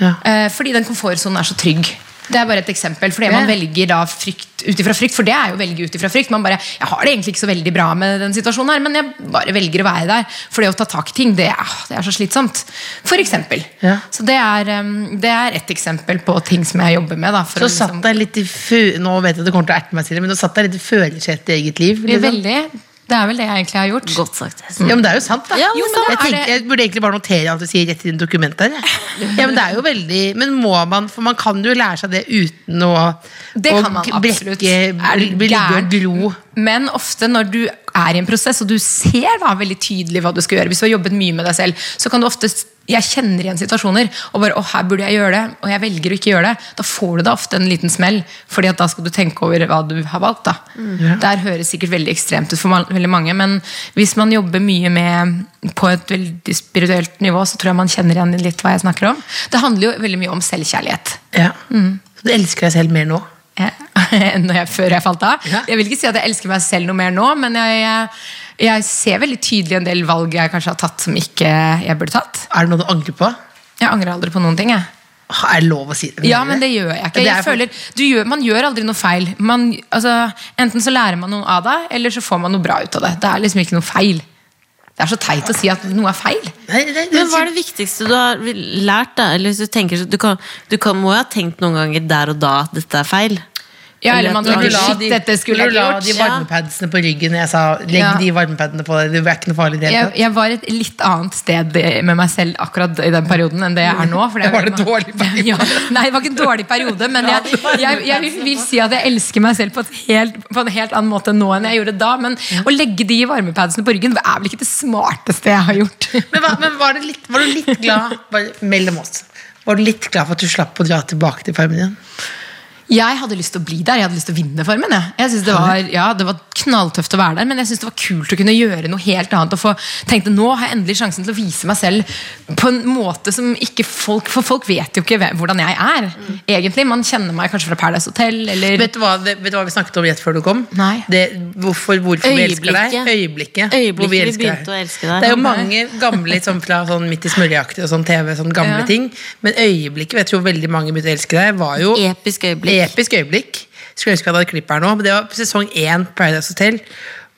Speaker 3: Ja.
Speaker 1: Eh, Fordi den komfortsonen er så trygg. Det er bare et eksempel, fordi Man
Speaker 3: Ja.
Speaker 1: velger da frykt ut ifra frykt, for det er jo å velge ut ifra frykt. Man bare, jeg har det egentlig ikke så veldig bra med den situasjonen her, men jeg bare velger å være der. For det å ta tak i ting, det er, ah, det er så slitsomt. For eksempel.
Speaker 3: Ja.
Speaker 1: Så det er, um, det er et eksempel på ting som jeg jobber med. Da, for
Speaker 3: Så
Speaker 1: å
Speaker 3: satt
Speaker 1: liksom-
Speaker 3: deg litt i fø- Nå vet jeg at det kommer til å erte meg, Silje, men du satt deg litt i førersetet i eget liv.
Speaker 1: Det er
Speaker 3: Liksom.
Speaker 1: veldig, det er vel det jeg egentlig har gjort.
Speaker 5: Godt sagt. Hest.
Speaker 3: Ja, men det er jo sant, da.
Speaker 5: Ja, men
Speaker 3: jo,
Speaker 5: det
Speaker 3: jeg,
Speaker 1: er
Speaker 3: tenker, jeg burde egentlig bare notere alt du sier rett i dine dokumenter. jeg. Ja, men det er jo veldig Men må man For man kan jo lære seg det uten å
Speaker 1: Det
Speaker 3: å
Speaker 1: kan man
Speaker 3: g-
Speaker 1: absolutt.
Speaker 3: brekke-
Speaker 1: Er du
Speaker 3: bli
Speaker 1: gæren?
Speaker 3: liggende og gro.
Speaker 1: Men ofte når du er i en prosess, og du ser da veldig tydelig hva du skal gjøre, hvis du har jobbet mye med deg selv, så kan du ofte jeg kjenner igjen situasjoner og bare, å her burde jeg gjøre det, og jeg velger å ikke gjøre det. Da får du da ofte en liten smell, fordi at da skal du tenke over hva du har valgt. da.
Speaker 3: Mm.
Speaker 1: Der høres sikkert veldig ekstremt ut for man- veldig mange, men hvis man jobber mye med på et veldig spirituelt nivå, så tror jeg man kjenner igjen litt hva jeg snakker om. Det handler jo veldig mye om selvkjærlighet.
Speaker 3: Ja. Mm. Så du elsker deg selv mer nå?
Speaker 1: Ja, enn Eh, når jeg, før jeg falt av.
Speaker 3: Ja.
Speaker 1: Jeg vil ikke si at jeg elsker meg selv noe mer nå, men jeg, jeg, jeg ser veldig tydelig en del valg jeg kanskje har tatt som ikke jeg burde tatt.
Speaker 3: Er det noe du angrer på?
Speaker 1: Jeg angrer aldri på noen ting. Jeg.
Speaker 3: Åh, Er det lov å si det?
Speaker 1: Ja, men det gjør jeg ikke.
Speaker 3: Det er
Speaker 1: Jeg
Speaker 3: for-
Speaker 1: føler, du gjør, man gjør aldri noe feil. Man, altså, enten så lærer man noe av det, eller så får man noe bra ut av det. Det er liksom ikke noe feil. Det er så teit å si at noe er feil.
Speaker 3: Nei, nei,
Speaker 5: Men hva er det viktigste du har lært, da? Eller hvis du tenker så- Du, kan, du kan, må jo ha tenkt noen ganger der og da at dette er feil.
Speaker 1: Ja, eller
Speaker 5: at
Speaker 1: man
Speaker 5: du
Speaker 1: tenker,
Speaker 5: la
Speaker 1: shit,
Speaker 3: de-
Speaker 1: dette skulle
Speaker 3: når
Speaker 1: jeg
Speaker 3: du la
Speaker 1: ikke
Speaker 3: de
Speaker 1: gjort.
Speaker 5: ja.
Speaker 3: varmepadsene på ryggen, og jeg sa legg
Speaker 1: Ja.
Speaker 3: de varmepadene på deg, det er ikke noe farlig i det hele
Speaker 1: Jeg,
Speaker 3: tatt.
Speaker 1: jeg var et litt annet sted med meg selv akkurat i den perioden enn det jeg er nå. For
Speaker 3: Var det dårlig periode?
Speaker 1: Ja, nei, det var ikke en dårlig periode, men jeg, jeg, jeg vil si at jeg elsker meg selv på, et helt, på en helt annen måte nå enn jeg gjorde da. Men å legge de varmepadsene på ryggen er vel ikke det smarteste jeg har gjort.
Speaker 3: Men, hva, men var, det litt, var du litt glad bare, mellom oss? Var du litt glad for at du slapp å dra tilbake til farmen igjen?
Speaker 1: Jeg hadde lyst til å bli der, jeg hadde lyst til å vinne Farmen. Jeg. Jeg synes det, var, ja, det var knalltøft å være der, men jeg synes det var kult å kunne gjøre noe helt annet. Og få, tenkte, Nå har jeg endelig sjansen til å vise meg selv på en måte som ikke folk For folk vet jo ikke hvem- hvordan jeg er. egentlig. Man kjenner meg kanskje fra Paradise Hotel. Eller,
Speaker 3: Vet du hva, det, vet du hva vi snakket om rett før du kom?
Speaker 1: Nei.
Speaker 3: Det, hvorfor hvorfor vi elsker deg? Øyeblikket.
Speaker 5: Øyeblikket.
Speaker 3: hvor
Speaker 5: Øyeblikket vi begynte å elske deg.
Speaker 3: Det er jo
Speaker 5: Ja.
Speaker 3: mange gamle sånn, fra sånn midt i smørjeaktig og sånn TV, sånn gamle
Speaker 1: Ja.
Speaker 3: ting. Men øyeblikket vet du jo veldig mange begynte å elske deg, var jo
Speaker 5: Episk øyeblikk.
Speaker 3: Episk øyeblikk. Skulle ønske vi hadde et klipp her nå, men det var sesong én Paradise Hotel,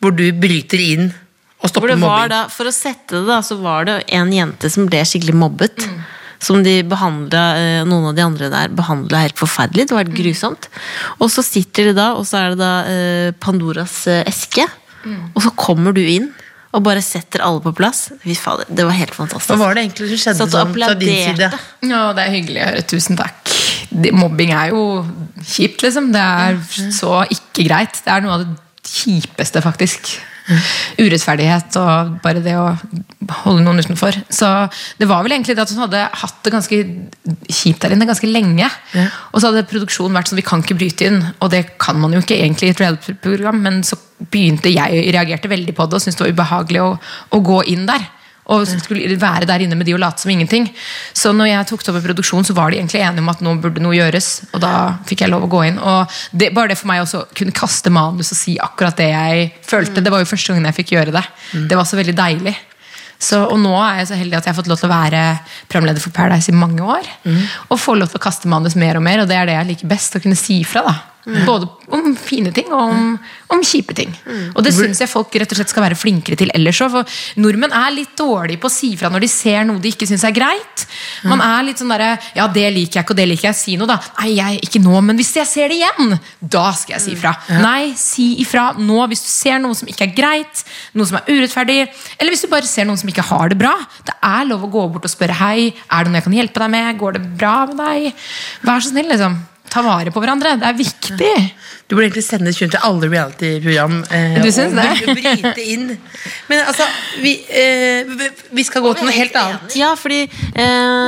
Speaker 3: hvor du bryter inn og
Speaker 5: Hvor
Speaker 3: stopper
Speaker 5: det var
Speaker 3: mobbing.
Speaker 5: da, for å sette det, da, så var det en jente som ble skikkelig mobbet. Som de behandla, noen av de andre der behandla helt forferdelig. Det var helt grusomt. Og så sitter de da, og så er det da eh, Pandoras eh, eske. Og så kommer du inn og bare setter alle på plass. Fy fader, det var helt
Speaker 3: Hva
Speaker 5: fantastisk.
Speaker 3: var det egentlig som skjedde
Speaker 5: Satt og
Speaker 3: sånn, fra din
Speaker 5: applauderte.
Speaker 3: side?
Speaker 1: Ja, det er hyggelig å høre. Tusen takk. Det, mobbing er jo kjipt, liksom. Det er så ikke greit. Det er noe av det kjipeste, faktisk. Urettferdighet og bare det å holde noen utenfor. Så det var vel egentlig det at hun hadde hatt det ganske kjipt der inne ganske lenge. Og så hadde produksjonen vært sånn vi kan ikke bryte inn, og det kan man jo ikke egentlig i et reality-program, men så begynte jeg reagerte veldig på det og syntes det var ubehagelig å, å gå inn der. Og skulle være der inne med de og late som ingenting. Så når jeg tok det over produksjonen, så var de egentlig enige om at nå burde noe gjøres. Og da fikk jeg lov å gå inn. Og det, bare det for meg også å kunne kaste manus og si akkurat det jeg følte, det var jo første gangen jeg fikk gjøre det. Det var så veldig deilig. Så, og nå er jeg så heldig at jeg har fått lov til å være programleder for Paradise i mange år. Og får lov til å kaste manus mer og mer, og det er det jeg liker best. Å kunne si ifra. da. Både om fine ting og om, om kjipe ting. Og det syns jeg folk rett og slett skal være flinkere til ellers òg. For nordmenn er litt dårlige på å si ifra når de ser noe de ikke syns er greit. Man er litt sånn derre Ja, det liker jeg ikke, og det liker jeg. Si noe, da. Nei, jeg, ikke nå, men hvis jeg ser det igjen, da skal jeg si ifra. Nei, si ifra nå hvis du ser noe som ikke er greit, noe som er urettferdig, eller hvis du bare ser noen som ikke har det bra. Det er lov å gå bort og spørre hei, er det noe jeg kan hjelpe deg med, går det bra med deg? Vær så snill, liksom. Ta vare på hverandre. Det er viktig.
Speaker 3: Du burde egentlig sendes rundt til alle reality-program. Eh,
Speaker 1: Du
Speaker 3: og
Speaker 1: syns det?
Speaker 3: bry- bryte inn. Men altså, vi, eh, vi- vi skal gå til noe helt annet.
Speaker 5: Ja, fordi eh,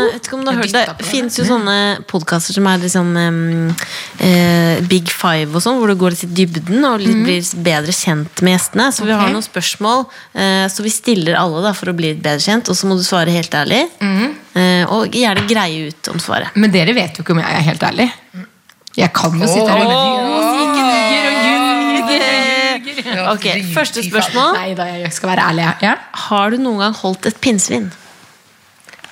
Speaker 5: vet ikke om du har hørt Det finnes jo sånne podkaster som er litt sånn eh, eh, Big Five og sånn, hvor du går litt i dybden og litt blir bedre kjent med gjestene. Så vi har
Speaker 1: Ok.
Speaker 5: noen spørsmål, eh, så vi stiller alle da for å bli litt bedre kjent. Og så må du svare helt ærlig, eh, og gjerne greie ut om svaret.
Speaker 1: Men dere vet jo ikke om jeg er helt ærlig. Jeg kan jo sitte her og lyge og ljuge.
Speaker 5: Ok, Første spørsmål.
Speaker 1: Nei da, jeg skal være ærlig. Ja?
Speaker 5: Har du noen gang holdt et pinnsvin?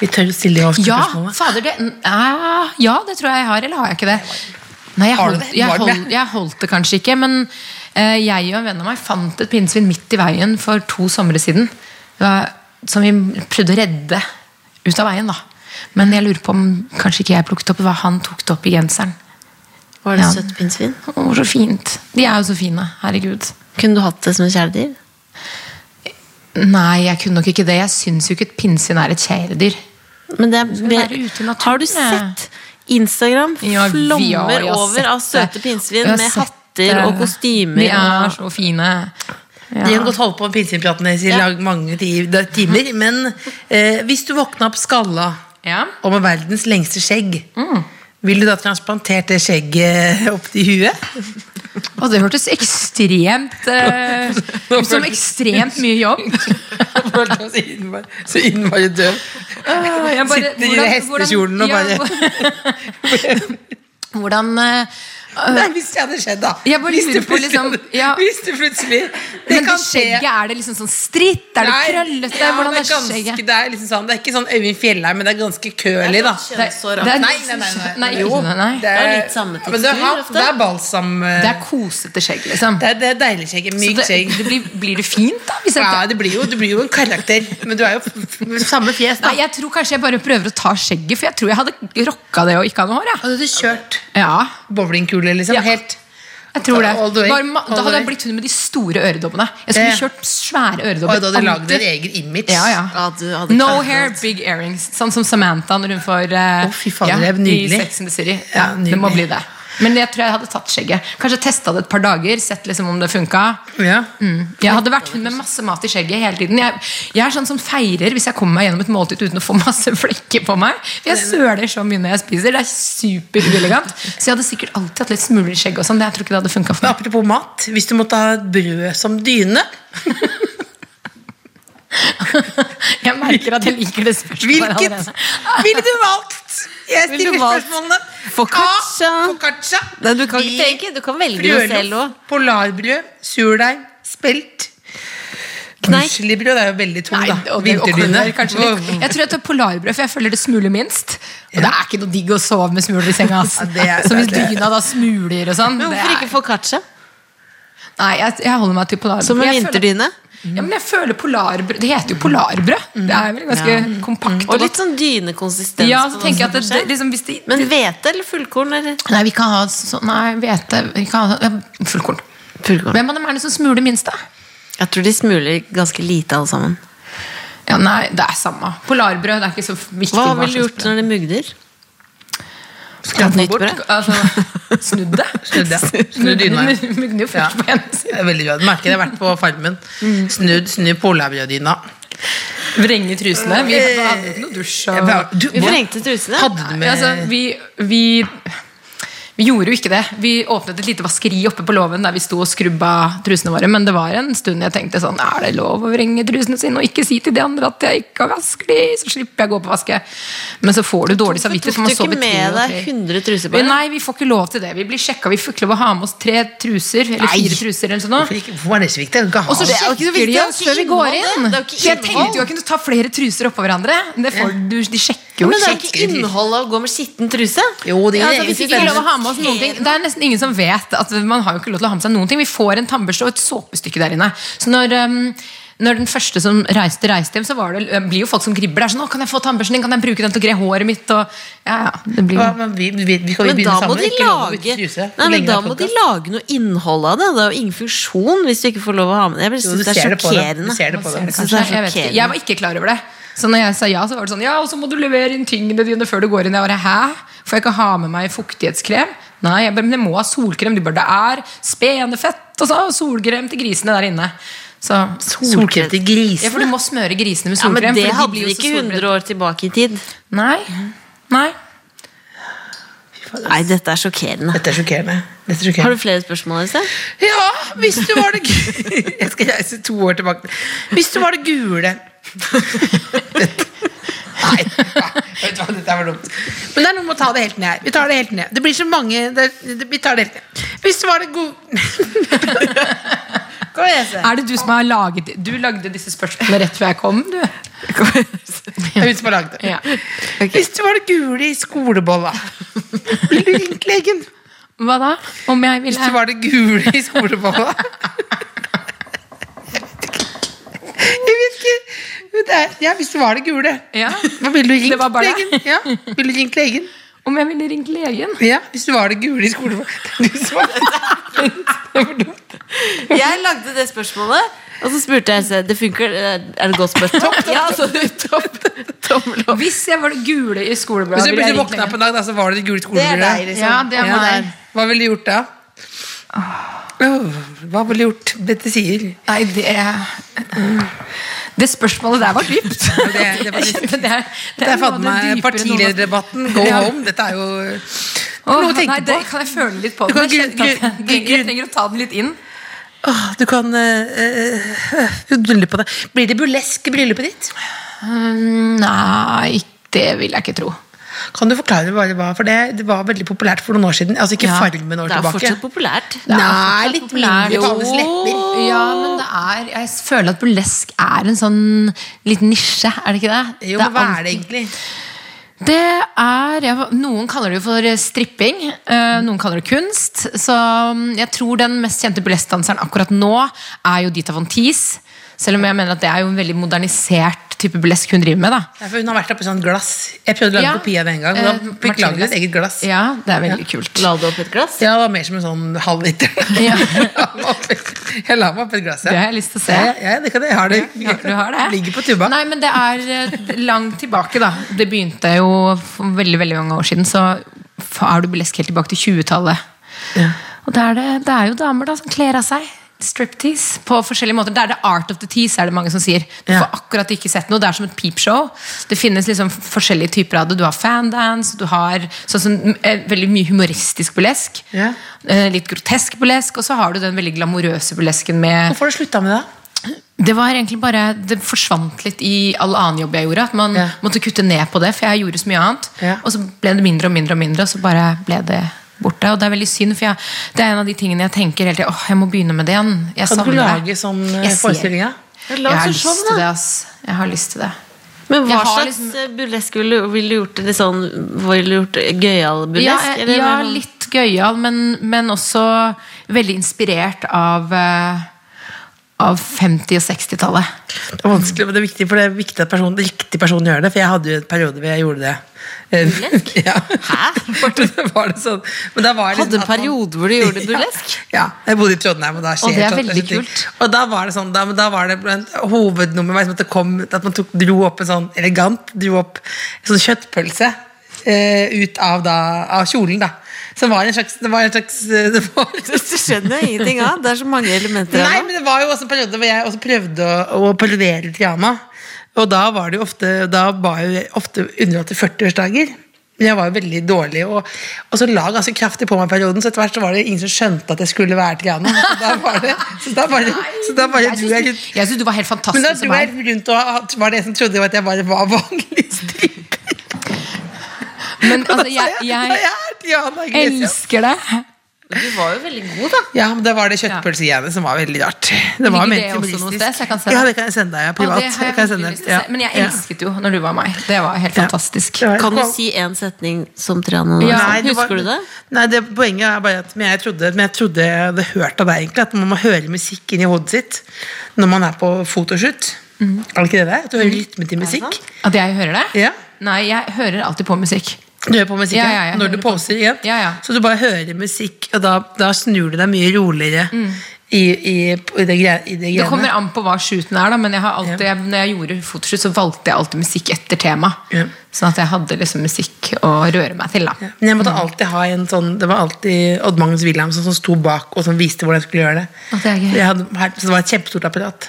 Speaker 3: Vi tør å stille de ofte
Speaker 1: Ja,
Speaker 3: spørsmålene.
Speaker 1: fader, det, ja, ja, det tror jeg jeg har, eller har jeg ikke det? Nei, jeg
Speaker 3: Har du
Speaker 1: holdt,
Speaker 3: det? Var
Speaker 1: jeg
Speaker 3: det det?
Speaker 1: holdt, jeg holdt det kanskje ikke, men eh, jeg og en venn av meg fant et pinnsvin midt i veien for to somre siden. Det var, som vi prøvde å redde ut av veien, da. Men jeg lurer på om kanskje ikke jeg plukket opp, det var han tok det opp i genseren.
Speaker 5: Var det
Speaker 1: Ja.
Speaker 5: et søtt pinnsvin?
Speaker 1: Å, så fint. De er jo så fine. Herregud.
Speaker 5: Kunne du hatt det som et kjæledyr?
Speaker 1: Nei, jeg kunne nok ikke det. Jeg syns jo ikke et pinnsvin er et kjæledyr.
Speaker 5: Men det er,
Speaker 1: være ute i naturen,
Speaker 5: har du
Speaker 1: jeg.
Speaker 5: sett Instagram
Speaker 1: Ja, vi har-
Speaker 5: flommer
Speaker 1: jeg har sett
Speaker 5: over av søte
Speaker 1: det.
Speaker 5: pinnsvin
Speaker 1: Jeg har
Speaker 5: med
Speaker 1: sett
Speaker 5: hatter
Speaker 1: det.
Speaker 5: og kostymer?
Speaker 1: De er
Speaker 5: og-
Speaker 1: så fine. Ja. Mm-hmm.
Speaker 3: De kan godt holde på med pinnsvinpraten deres i
Speaker 5: Ja.
Speaker 3: lag- mange ti- da- timer. Men eh, hvis du våkna opp skalla
Speaker 1: Ja. Mm.
Speaker 3: og med verdens lengste skjegg, vil du da transplantert det skjegget opp til huet?
Speaker 1: Og det hørtes ekstremt eh, ut som ekstremt mye jobb.
Speaker 3: Jeg følte meg så innmari- Så innmari døv.
Speaker 1: Jeg bare-
Speaker 3: Sitter i hestekjolen og
Speaker 1: hvordan- ja, Hvordan eh,
Speaker 3: Nei, hvis det hadde skjedd, da.
Speaker 1: Jeg bare
Speaker 3: hvis, det
Speaker 1: lurer på, liksom,
Speaker 3: plutselig-
Speaker 1: ja.
Speaker 3: hvis det plutselig Det
Speaker 1: Men det
Speaker 3: kan skje.
Speaker 1: skjegget, er det liksom sånn stritt? Er det
Speaker 3: Nei,
Speaker 1: krøllete?
Speaker 3: ja,
Speaker 1: Hvordan
Speaker 3: det
Speaker 1: er
Speaker 3: er ganske,
Speaker 1: skjegget?
Speaker 3: det er liksom sånn Det er ikke sånn Øyvind Fjellheim, men det er ganske curly, da.
Speaker 5: Det er-
Speaker 1: det er-
Speaker 3: Nei, nei, nei.
Speaker 1: Nei,
Speaker 3: Jo,
Speaker 1: ikke det, nei.
Speaker 3: Det er,
Speaker 5: Det er litt samme
Speaker 3: men det,
Speaker 5: tekstur
Speaker 3: er,
Speaker 5: ofte.
Speaker 3: det er balsam eh,
Speaker 1: Det er kosete skjegg, liksom.
Speaker 3: Det er, det er deilig skjegg.
Speaker 1: Så
Speaker 3: Mykt
Speaker 1: det,
Speaker 3: skjegg.
Speaker 1: det blir, blir det fint, da? Hvis jeg,
Speaker 3: Ja, det blir jo, du blir jo en karakter, men du er jo f- f- samme fjes, da.
Speaker 1: Nei, jeg tror kanskje jeg bare prøver å ta skjegget, for jeg tror jeg hadde rocka det og ikke hadde hår. jeg.
Speaker 3: Hadde du kjørt
Speaker 1: Ja,
Speaker 3: bowlingkule, liksom?
Speaker 1: Ja.
Speaker 3: Helt
Speaker 1: jeg tror det.
Speaker 3: All the way,
Speaker 1: Bare, ma-
Speaker 3: all
Speaker 1: da
Speaker 3: the
Speaker 1: hadde jeg
Speaker 3: way.
Speaker 1: blitt hun med de store øredobbene. Jeg skulle
Speaker 3: Det-
Speaker 1: kjørt svære
Speaker 3: Og
Speaker 1: øredobber.
Speaker 3: da hadde du lagd
Speaker 1: alltid.
Speaker 3: din egen image.
Speaker 1: Ja, ja.
Speaker 5: Ja, du hadde
Speaker 1: No
Speaker 5: klart det.
Speaker 1: hair, big earrings. Sånn som Samantha når hun får eh,
Speaker 3: Å, fy fader, det er nydelig.
Speaker 1: i Sex and the City.
Speaker 3: Ja,
Speaker 1: Ja, det må
Speaker 3: nydelig.
Speaker 1: bli det. Men jeg tror jeg hadde tatt skjegget. Kanskje testa det et par dager. Sett liksom om det funka.
Speaker 3: Ja.
Speaker 1: Mm. Jeg hadde vært hun med masse mat i skjegget hele tiden. Jeg, jeg er sånn som feirer hvis jeg kommer meg gjennom et måltid uten å få masse flekker på meg. Jeg søler så mye når jeg spiser. Det er superuelegant. Så jeg hadde sikkert alltid hatt litt smuler i skjegget og sånn. men Jeg tror ikke det hadde funket for
Speaker 3: Men
Speaker 1: meg.
Speaker 3: apropos mat, hvis du måtte ha brød som dyne,
Speaker 1: Jeg merker at jeg liker det spørsmålet
Speaker 3: hvilket
Speaker 1: allerede.
Speaker 3: ville du valgt? Jeg
Speaker 5: Ville
Speaker 3: stiller
Speaker 5: du valgt
Speaker 3: spørsmålene.
Speaker 5: focaccia?
Speaker 3: A. Focaccia.
Speaker 5: Nei, du kan
Speaker 3: B.
Speaker 5: ikke tenke, du kan velge det selv
Speaker 3: Brødloff,
Speaker 5: også.
Speaker 3: polarbrød, surdeig, spelt.
Speaker 5: Kneik.
Speaker 3: Muslibrød er jo veldig tung,
Speaker 1: Nei,
Speaker 3: da.
Speaker 1: og det- og
Speaker 3: Vinterdyne.
Speaker 1: kornbrød kanskje litt. Jeg tror jeg tar polarbrød, for jeg føler det smuler minst. Og det er ikke noe digg å sove med smuler i senga. Ass.
Speaker 3: Ja, det er-
Speaker 1: Så hvis
Speaker 3: det er-
Speaker 1: dyna da smuler og sånn
Speaker 5: Men
Speaker 1: det
Speaker 5: hvorfor
Speaker 1: er-
Speaker 5: ikke foccaccia?
Speaker 1: Nei, jeg, jeg holder meg til polarbrød.
Speaker 5: Som en
Speaker 1: Jeg føler-
Speaker 5: vinterdyne?
Speaker 1: Ja, men jeg føler polarbrød Det heter jo polarbrød. Det er vel ganske kompakt.
Speaker 5: Mm. Og litt sånn dynekonsistens.
Speaker 1: godt. ja,
Speaker 5: på
Speaker 1: så
Speaker 5: hva
Speaker 1: tenker jeg
Speaker 5: som
Speaker 1: at det,
Speaker 5: skjer.
Speaker 1: det, liksom, hvis de
Speaker 5: Men hvete eller fullkorn? Eller?
Speaker 1: Nei, vi kan ha sånn Nei, hvete vi kan ha- ja, Fullkorn. Hvem av dem er det som smuler minst, da?
Speaker 5: Jeg tror de smuler ganske lite, alle sammen.
Speaker 1: Ja, nei, det er samme. Polarbrød det er ikke så viktig.
Speaker 5: Hva
Speaker 1: hva
Speaker 5: ville du
Speaker 1: slags
Speaker 5: gjort når det mugner?
Speaker 3: Skal
Speaker 5: Nytt
Speaker 3: bort.
Speaker 5: brød?
Speaker 1: Altså, snudd det?
Speaker 3: Snudd, ja. Snudd dyna. ja.
Speaker 1: Mugner jo
Speaker 3: Ja.
Speaker 1: først på ene siden.
Speaker 3: Det er veldig bra. Du Merker jeg har vært på Farmen.
Speaker 5: Mm.
Speaker 3: Snudd, snu polarbrøddyna. Eh,
Speaker 1: Vrenge trusene. Vi hadde jo ikke noe dusj. Og...
Speaker 3: Du,
Speaker 5: Vi vrengte trusene.
Speaker 3: Hadde du
Speaker 1: Nei,
Speaker 3: med
Speaker 1: altså, vi, vi, altså, Vi gjorde jo ikke det. Vi åpnet et lite vaskeri oppe på låven der vi sto og skrubba trusene våre, men det var en stund jeg tenkte sånn Er det lov å vrenge trusene sine og ikke si til de andre at jeg ikke vasker de, så slipper jeg å gå på vaske? Men så får du dårlig samvittighet. for man
Speaker 5: Tok du
Speaker 1: sover
Speaker 5: ikke med
Speaker 1: tre-
Speaker 5: deg 100 truser på?
Speaker 1: Nei, vi får ikke lov til det. Vi blir sjekka. Vi får ikke lov å ha med oss tre truser eller
Speaker 3: Nei.
Speaker 1: fire truser eller sånn. noe.
Speaker 3: Hvorfor ikke- hvorfor var det så viktig? Jeg kan ikke ha
Speaker 1: Og så
Speaker 3: det.
Speaker 5: er jo ikke så
Speaker 1: sjekker de
Speaker 5: viktig, det
Speaker 1: oss
Speaker 5: er jo
Speaker 1: før vi
Speaker 5: ikke
Speaker 1: går
Speaker 5: innhold,
Speaker 1: inn.
Speaker 5: det. Det er jo ikke
Speaker 1: Så jeg tenkte
Speaker 5: innhold.
Speaker 1: jo jeg kunne ta flere truser oppå hverandre. Men det får du, de sjekker jo
Speaker 5: Men det er
Speaker 1: ikke.
Speaker 5: ikke innholdet å gå med skitten truse.
Speaker 3: Jo, det
Speaker 1: Ja,
Speaker 3: er
Speaker 1: altså, vi fikk ikke lov å ha med oss noen ting. Det er nesten ingen som vet at man har jo ikke lov til å ha med seg noen ting. Vi får en tannbørste og et såpestykke der inne. Så når, um, når den første som reiste, reiste hjem, så var det, um, blir jo folk som gribler. Det er sånn, å, kan jeg få tannbørsten din? Kan jeg bruke den til å gre håret mitt? Og, ja, ja, det blir
Speaker 3: Ja,
Speaker 1: jo...
Speaker 3: men vi, vi, vi kan jo
Speaker 5: Men
Speaker 3: begynne
Speaker 5: da må
Speaker 3: sammen.
Speaker 5: de
Speaker 3: Ikke lov å bytte
Speaker 5: lage
Speaker 3: truse. Hvor
Speaker 5: Nei, men
Speaker 3: lenge
Speaker 5: da
Speaker 3: er
Speaker 5: må de
Speaker 3: podcast?
Speaker 5: lage noe innhold av det. Det er jo ingen funksjon hvis du ikke får lov å ha med det. Jeg bare
Speaker 3: Jo, du
Speaker 5: synes det
Speaker 3: ser
Speaker 5: er
Speaker 3: det på dem. Du
Speaker 5: sjokkerende.
Speaker 3: ser det på dem.
Speaker 5: Jeg synes det er
Speaker 1: Kanskje, jeg, vet ikke.
Speaker 5: sjokkerende.
Speaker 1: jeg var ikke klar over det. Så når jeg sa ja, så var det sånn Ja, og så må du levere inn tingene dine før du går inn. Jeg bare, hæ? Får jeg ikke ha med meg fuktighetskrem? Nei, jeg bare, men jeg må ha solkrem. De bare, det er spenefett og så solkrem til grisene der inne. Så
Speaker 3: Solkrem til
Speaker 1: Ja, for
Speaker 3: grisene.
Speaker 1: du må smøre grisene med
Speaker 5: Ja,
Speaker 1: solkrem.
Speaker 5: men det
Speaker 1: for de
Speaker 5: hadde
Speaker 1: blir jo
Speaker 5: vi
Speaker 1: så
Speaker 5: ikke
Speaker 1: solbrent.
Speaker 5: 100 år tilbake i tid.
Speaker 1: Nei. Nei.
Speaker 5: Nei, dette er sjokkerende.
Speaker 3: Dette er sjokkerende. Dette er sjokkerende.
Speaker 5: Har du flere spørsmål? Else?
Speaker 3: Ja, hvis du var det gule Jeg skal reise to år tilbake. Hvis du var det gule Nei, vet du hva, dette var dumt. Men det er noe med å ta det helt ned her. Vi tar det helt ned. Det blir så mange det, det, Vi tar det helt ned. Hvis du var det gode Kom igjen, Else.
Speaker 1: Er det du som har laget Du lagde disse spørsmålene rett før jeg kom, du?
Speaker 3: Det er hun som har laget det.
Speaker 1: Ja.
Speaker 3: Hvis du var det gule i skolebolla, ville du ringt legen?
Speaker 1: Hva da? Om jeg
Speaker 3: Hvis du
Speaker 1: ville
Speaker 3: var det gule i skolebolla Jeg vet ikke Men det er, Ja, hvis du var det gule
Speaker 1: Ja.
Speaker 3: Hva ville du
Speaker 1: Det var
Speaker 3: ringt
Speaker 1: bare det.
Speaker 3: legen? Ja, ville du ringt legen?
Speaker 1: Om jeg ville ringt legen?
Speaker 3: Ja, hvis du var det gule i skolebolla Det er du som har- Det var dumt.
Speaker 5: Jeg lagde det spørsmålet, og så spurte jeg Else. Det funker, er det et godt spørsmål? Ja, altså, topp, tommel opp.
Speaker 1: Hvis jeg var det gule i skolebladet
Speaker 3: Hvis du
Speaker 1: ville
Speaker 3: plutselig
Speaker 1: jeg ringt
Speaker 3: våkna
Speaker 1: legen.
Speaker 3: opp en dag da, Så var det det gule
Speaker 5: Det er deg,
Speaker 3: skolebolla
Speaker 5: liksom.
Speaker 1: Ja, det er
Speaker 5: Ja,
Speaker 1: meg.
Speaker 3: Hva ville du gjort da? Åh, hva ville du gjort? Dette sier
Speaker 1: Nei, det Det spørsmålet der var dypt.
Speaker 3: det, det var
Speaker 1: Jeg
Speaker 3: litt
Speaker 1: kjenner det er,
Speaker 3: det er faen meg
Speaker 1: noe av det dypere noen har-
Speaker 3: partilederdebatten. Go
Speaker 1: Ja.
Speaker 3: home. Dette er jo
Speaker 1: Åh,
Speaker 3: noe å tenke
Speaker 1: nei,
Speaker 3: på.
Speaker 1: det kan jeg føle litt på.
Speaker 3: Du
Speaker 1: den.
Speaker 3: kan gru-
Speaker 1: Jeg kjenner at
Speaker 3: gru-
Speaker 1: jeg trenger- jeg trenger å ta den litt inn.
Speaker 3: Åh, Du kan eh, bryllupet deg. Blir eh, det burlesk i bryllupet ditt?
Speaker 1: Mm, Nei, det vil jeg ikke tro.
Speaker 3: Kan du forklare hva det var? For det, det var veldig populært for noen år siden. Altså ikke
Speaker 1: Ja.
Speaker 3: Farmen år
Speaker 5: Det er
Speaker 3: tilbake.
Speaker 5: fortsatt populært.
Speaker 1: Det er
Speaker 3: Nei,
Speaker 1: fortsatt
Speaker 3: litt
Speaker 1: populært.
Speaker 3: mindre på alles lepper.
Speaker 1: Ja, men det er Jeg føler at burlesk er en sånn liten nisje, er det ikke det?
Speaker 3: Jo,
Speaker 1: det
Speaker 3: men hva er det
Speaker 1: alltid-
Speaker 3: egentlig?
Speaker 1: Det er jeg, Noen kaller det jo for stripping, eh, noen kaller det kunst. Så mm, jeg tror den mest kjente burleskdanseren akkurat nå er jo Dita Von Teese. Selv om jeg mener at det er jo en veldig modernisert type burlesk hun driver med. da
Speaker 3: Ja, for hun har vært oppi sånn glass. Jeg prøvde å lage
Speaker 1: Ja.
Speaker 3: kopi av det en gang.
Speaker 1: Eh,
Speaker 3: Og da fikk
Speaker 1: Martine
Speaker 3: laget et eget glass. Ja.
Speaker 1: Ja, det er veldig kult.
Speaker 5: La det opp et glass.
Speaker 3: det var mer som en sånn halvliter.
Speaker 1: Ja.
Speaker 3: jeg la meg opp et glass,
Speaker 1: Det
Speaker 3: ja.
Speaker 1: har jeg lyst til å se.
Speaker 3: Ja, ja, det kan jeg. jeg har det.
Speaker 1: Ja, du har det?
Speaker 3: Ligger på tuba.
Speaker 1: Nei, men det er eh, langt tilbake, da. Det begynte jo for veldig veldig mange år siden. Så fa- er du burlesk helt tilbake til 20-tallet. Og da er det, det er jo damer da som kler av seg. Striptease på forskjellige måter. Det er the art of the tease, er det mange som sier. Du
Speaker 3: Ja.
Speaker 1: får akkurat ikke sett noe. Det er som et peepshow. Det finnes liksom forskjellige typer av det. Du har fandance, du har sånn som, eh, veldig mye humoristisk burlesk.
Speaker 3: Ja.
Speaker 1: Eh, Litt grotesk burlesk, og så har du den veldig glamorøse burlesken med
Speaker 3: Hvorfor har du slutta med det? da?
Speaker 1: det var egentlig bare, det forsvant litt i all annen jobb jeg gjorde. At man
Speaker 3: Ja.
Speaker 1: måtte kutte ned på det, for jeg gjorde så mye annet.
Speaker 3: Ja.
Speaker 1: Og så ble det mindre og mindre, og mindre, og så bare ble det borte. Og det er veldig synd, for jeg, det er en av de tingene jeg tenker hele tiden, åh, jeg må begynne med det igjen. Jeg
Speaker 3: Kan du ikke
Speaker 1: savner
Speaker 3: lage
Speaker 1: det.
Speaker 3: sånn
Speaker 1: Jeg
Speaker 3: eh,
Speaker 1: ser-
Speaker 3: forestilling? da?
Speaker 5: La
Speaker 1: Jeg
Speaker 5: oss gjøre
Speaker 1: har
Speaker 5: sånn,
Speaker 1: lyst til det, ass. Jeg har lyst til det.
Speaker 5: Men hva
Speaker 1: Jeg har
Speaker 5: slags liksom, eh, burlesk ville du ville du gjort? Litt sånn, ville du gjort gøyal
Speaker 1: Ja,
Speaker 5: burlesk?
Speaker 1: jeg,
Speaker 5: eller
Speaker 1: ja
Speaker 5: mer sånn-
Speaker 1: litt gøyal, men, men også veldig inspirert av, eh, av 50- og 60-tallet.
Speaker 3: Det er vanskelig, men det er viktig, for det er viktig at personen, riktig person gjør det. For jeg hadde jo en periode hvor jeg gjorde det. Eh, ja. Hæ? var det sånn? Men da var jeg
Speaker 5: Hadde
Speaker 3: liksom
Speaker 5: en
Speaker 3: at man-
Speaker 5: periode hvor du gjorde burlesk?
Speaker 3: Ja, jeg bodde i Trondheim, og da skjer
Speaker 1: Og det er
Speaker 3: sånn-
Speaker 1: veldig
Speaker 3: sånne ting.
Speaker 1: kult.
Speaker 3: Og da var det sånn, da, men da var det blant hovednummer var liksom at det kom, at man tok, dro opp en sånn elegant, dro opp en sånn kjøttpølse eh, ut av, da, av kjolen da. Så det var en slags, det var en slags, eh, det var
Speaker 5: Du skjønner jeg ingenting av. Det er så mange elementer
Speaker 3: Nei,
Speaker 5: her nå.
Speaker 3: men det var jo også en periode hvor jeg også prøvde å, å parodiere Triana. Og da var det jo ofte Da var jeg ofte underholdt til 40-årsdager. Men jeg var jo veldig dårlig, og, og så la jeg ganske kraftig på meg i perioden, så etter hvert så var det ingen som skjønte at jeg skulle være til greiene. Så da var det, så da var det, så da var det
Speaker 1: Jeg
Speaker 3: du jeg
Speaker 1: syns du, jeg syns du var helt
Speaker 3: Men
Speaker 1: fantastisk
Speaker 3: da
Speaker 1: som
Speaker 3: dro jeg
Speaker 1: her.
Speaker 3: rundt og at- var det en som trodde at jeg bare var vanlig stripper.
Speaker 1: Men altså,
Speaker 3: Da sa
Speaker 1: jeg,
Speaker 3: «Nei,
Speaker 1: jeg
Speaker 3: jeg er Diana Gresham.
Speaker 1: elsker det.
Speaker 5: Du var jo veldig god, da.
Speaker 3: Ja, men det var det kjøttpølse igjen som var veldig rart. Det var
Speaker 1: Ligger
Speaker 3: mer
Speaker 1: det også noe
Speaker 3: feministisk.
Speaker 1: sted, så jeg kan sende
Speaker 3: ja,
Speaker 1: det?
Speaker 3: det kan jeg sende deg ja,
Speaker 1: Og
Speaker 3: privat.
Speaker 1: det har
Speaker 3: Det
Speaker 1: jeg
Speaker 3: kan jeg
Speaker 1: veldig
Speaker 3: sende.
Speaker 1: lyst til å se. Men jeg elsket jo når du var meg. Det var helt fantastisk.
Speaker 3: Ja.
Speaker 5: Kan du si en setning som Triana? nå?
Speaker 1: Ja.
Speaker 5: Sånn,
Speaker 1: Nei,
Speaker 3: det var-
Speaker 5: Husker du det?
Speaker 3: Nei, det, poenget er bare at men jeg, trodde, men jeg trodde jeg hadde hørt av deg egentlig at man må høre musikk inni hodet sitt når man er på fotoshoot.
Speaker 1: Mhm.
Speaker 3: Er det ikke det det? er? At du hører rytme til musikk?
Speaker 1: At jeg hører det?
Speaker 3: Ja.
Speaker 1: Nei, jeg hører alltid på musikk.
Speaker 3: Du hører på musikk
Speaker 1: Ja,
Speaker 3: ja,
Speaker 1: ja, jeg
Speaker 3: når
Speaker 1: hører
Speaker 3: du
Speaker 1: på.
Speaker 3: poser igjen.
Speaker 1: Ja, ja.
Speaker 3: Så du bare hører musikk, og da, da snur du deg mye roligere i, i, i det gre- i det
Speaker 1: Mhm. Det kommer
Speaker 3: greiene.
Speaker 1: an på hva shooten er, da, men jeg har alltid, når jeg gjorde fotoshoot, så valgte jeg alltid musikk etter tema.
Speaker 3: Ja.
Speaker 1: Sånn at jeg hadde liksom musikk å røre meg til. da.
Speaker 3: Men jeg måtte alltid ha en sånn Det var alltid Odd Magnus Wilhelmsen som sto bak og som viste hvordan jeg skulle gjøre det.
Speaker 1: Å, det er gøy.
Speaker 3: Jeg hadde, her- så det var et kjempestort apparat.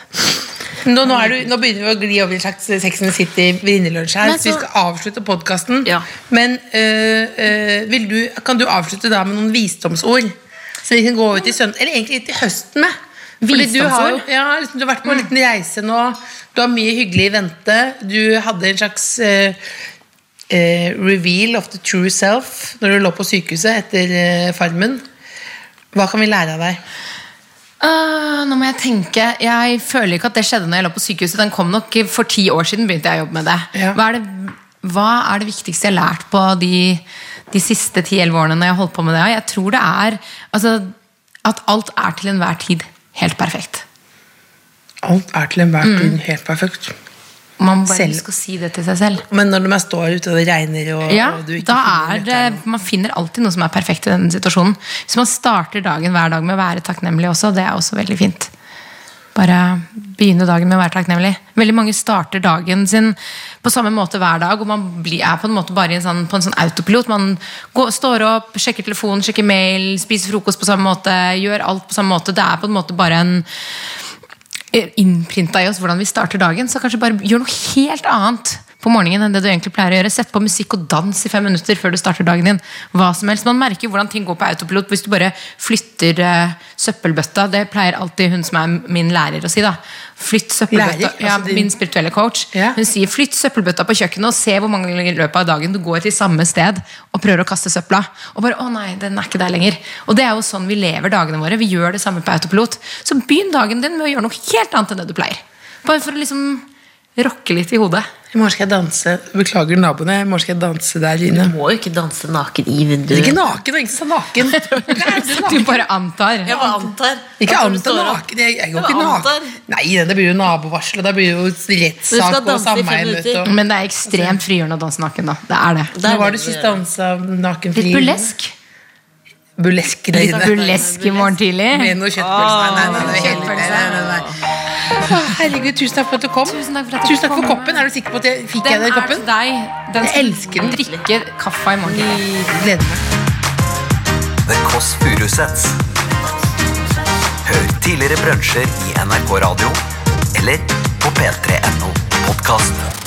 Speaker 3: Nå, nå, er du, nå begynner vi å gli over i en slags Sex and the City-venninnelunsj her.
Speaker 5: Men
Speaker 3: så vi
Speaker 5: så-
Speaker 3: skal avslutte podkasten.
Speaker 5: Ja.
Speaker 3: Men øh, øh, vil du, kan du avslutte da med noen visdomsord? Så vi kan gå ut i søndag Eller egentlig til høsten med. Fordi du har, jo-
Speaker 1: Visdomsord? Mm.
Speaker 3: ja, liksom, du har vært på en liten reise nå. Du har mye hyggelig i vente. Du hadde en slags øh, eh, reveal of the true self når du lå på sykehuset etter eh, Farmen. Hva kan vi lære av deg?
Speaker 1: Ah, nå må jeg tenke Jeg føler ikke at det skjedde når jeg lå på sykehuset. Den kom nok for ti år siden. begynte jeg å jobbe med det.
Speaker 3: Ja.
Speaker 1: Hva, er det, hva er det viktigste jeg har lært på de, de siste 10-11 årene? når Jeg har holdt på med det? Jeg tror det er altså, at alt er til enhver tid helt perfekt.
Speaker 3: Alt er til enhver tid helt perfekt.
Speaker 1: Man må bare
Speaker 3: Selv.
Speaker 1: huske å si det til seg selv.
Speaker 3: Men når man står ute og det regner og,
Speaker 1: Ja,
Speaker 3: og du ikke
Speaker 1: da
Speaker 3: finner
Speaker 1: er det,
Speaker 3: nøkkelen.
Speaker 1: Man finner alltid noe som er perfekt i denne situasjonen. Hvis man starter dagen hver dag med å være takknemlig også, det er også veldig fint. Bare begynne dagen med å være takknemlig. Veldig mange starter dagen sin på samme måte hver dag, og man blir, er på en måte bare i en sånn, på en sånn autopilot. Man går, står opp, sjekker telefonen, sjekker mail, spiser frokost på samme måte, gjør alt på samme måte. Det er på en måte bare en innprinta eh, i oss hvordan vi starter dagen, så kanskje bare gjør noe helt annet på morgenen enn det du egentlig pleier å gjøre. Sett på musikk og dans i fem minutter før du starter dagen din. Hva som helst. Man merker jo hvordan ting går på autopilot hvis du bare flytter eh, søppelbøtta. Det pleier alltid hun som er min lærer å si, da. Flytt søppelbøtta.
Speaker 3: Lærer? Altså
Speaker 1: ja,
Speaker 3: din-
Speaker 1: min spirituelle coach.
Speaker 3: Ja.
Speaker 1: Hun sier flytt søppelbøtta på kjøkkenet og se hvor mange ganger i løpet av dagen du går til samme sted og prøver å kaste søpla. Og bare, å nei, den er ikke der lenger. Og det er jo sånn vi lever dagene våre. Vi gjør det samme på autopilot. Så begynn dagen din med å gjøre noe helt annet enn det du pleier. Bare for å liksom rokke litt i hodet.
Speaker 3: I morgen skal jeg danse. Beklager naboene. I morgen skal jeg danse der inne.
Speaker 5: Du må jo ikke danse naken
Speaker 3: Det
Speaker 5: i
Speaker 3: er Ikke
Speaker 5: vinduet.
Speaker 3: naken, og ikke så naken. Nei, det er
Speaker 1: Du
Speaker 3: naken.
Speaker 1: bare antar.
Speaker 5: Jeg bare antar.
Speaker 3: Ikke
Speaker 5: At du
Speaker 3: annet enn
Speaker 5: står opp.
Speaker 3: naken. Jeg, jeg går
Speaker 5: Jeg
Speaker 3: ikke
Speaker 5: bare
Speaker 3: naken.
Speaker 5: antar.
Speaker 3: Nei, det blir jo nabovarsel, og da blir det jo
Speaker 5: Du skal
Speaker 3: rettssak og
Speaker 5: danse i fem
Speaker 3: sameiemøte.
Speaker 5: minutter.
Speaker 3: og-
Speaker 1: Men det er ekstremt frigjørende å danse naken, da. Det er det.
Speaker 5: Det
Speaker 3: Når
Speaker 5: er
Speaker 3: var
Speaker 5: det
Speaker 3: det
Speaker 5: du
Speaker 3: sist
Speaker 5: gjør.
Speaker 3: dansa nakenfri?
Speaker 1: Litt burlesk.
Speaker 3: Burlesk
Speaker 1: Litt
Speaker 3: dine.
Speaker 1: burlesk i morgen tidlig.
Speaker 3: Med noe kjøttpølse. Nei, nei, nei, nei, nei, nei, nei, nei. Å, Herregud, tusen takk for at du kom.
Speaker 1: Tusen takk for at
Speaker 3: Tusen
Speaker 1: jeg fikk
Speaker 3: takk for
Speaker 1: komme.
Speaker 3: koppen. Er du sikker på at jeg fikk jeg
Speaker 1: Den
Speaker 3: den
Speaker 1: er til
Speaker 3: koppen?
Speaker 1: deg. Den
Speaker 3: Jeg elsker den.
Speaker 1: som drikker kaffe i morgen tidlig.
Speaker 3: Gleder meg.
Speaker 2: The Kåss Furuseths. Hør tidligere brunsjer i NRK Radio eller på p3.no podkast.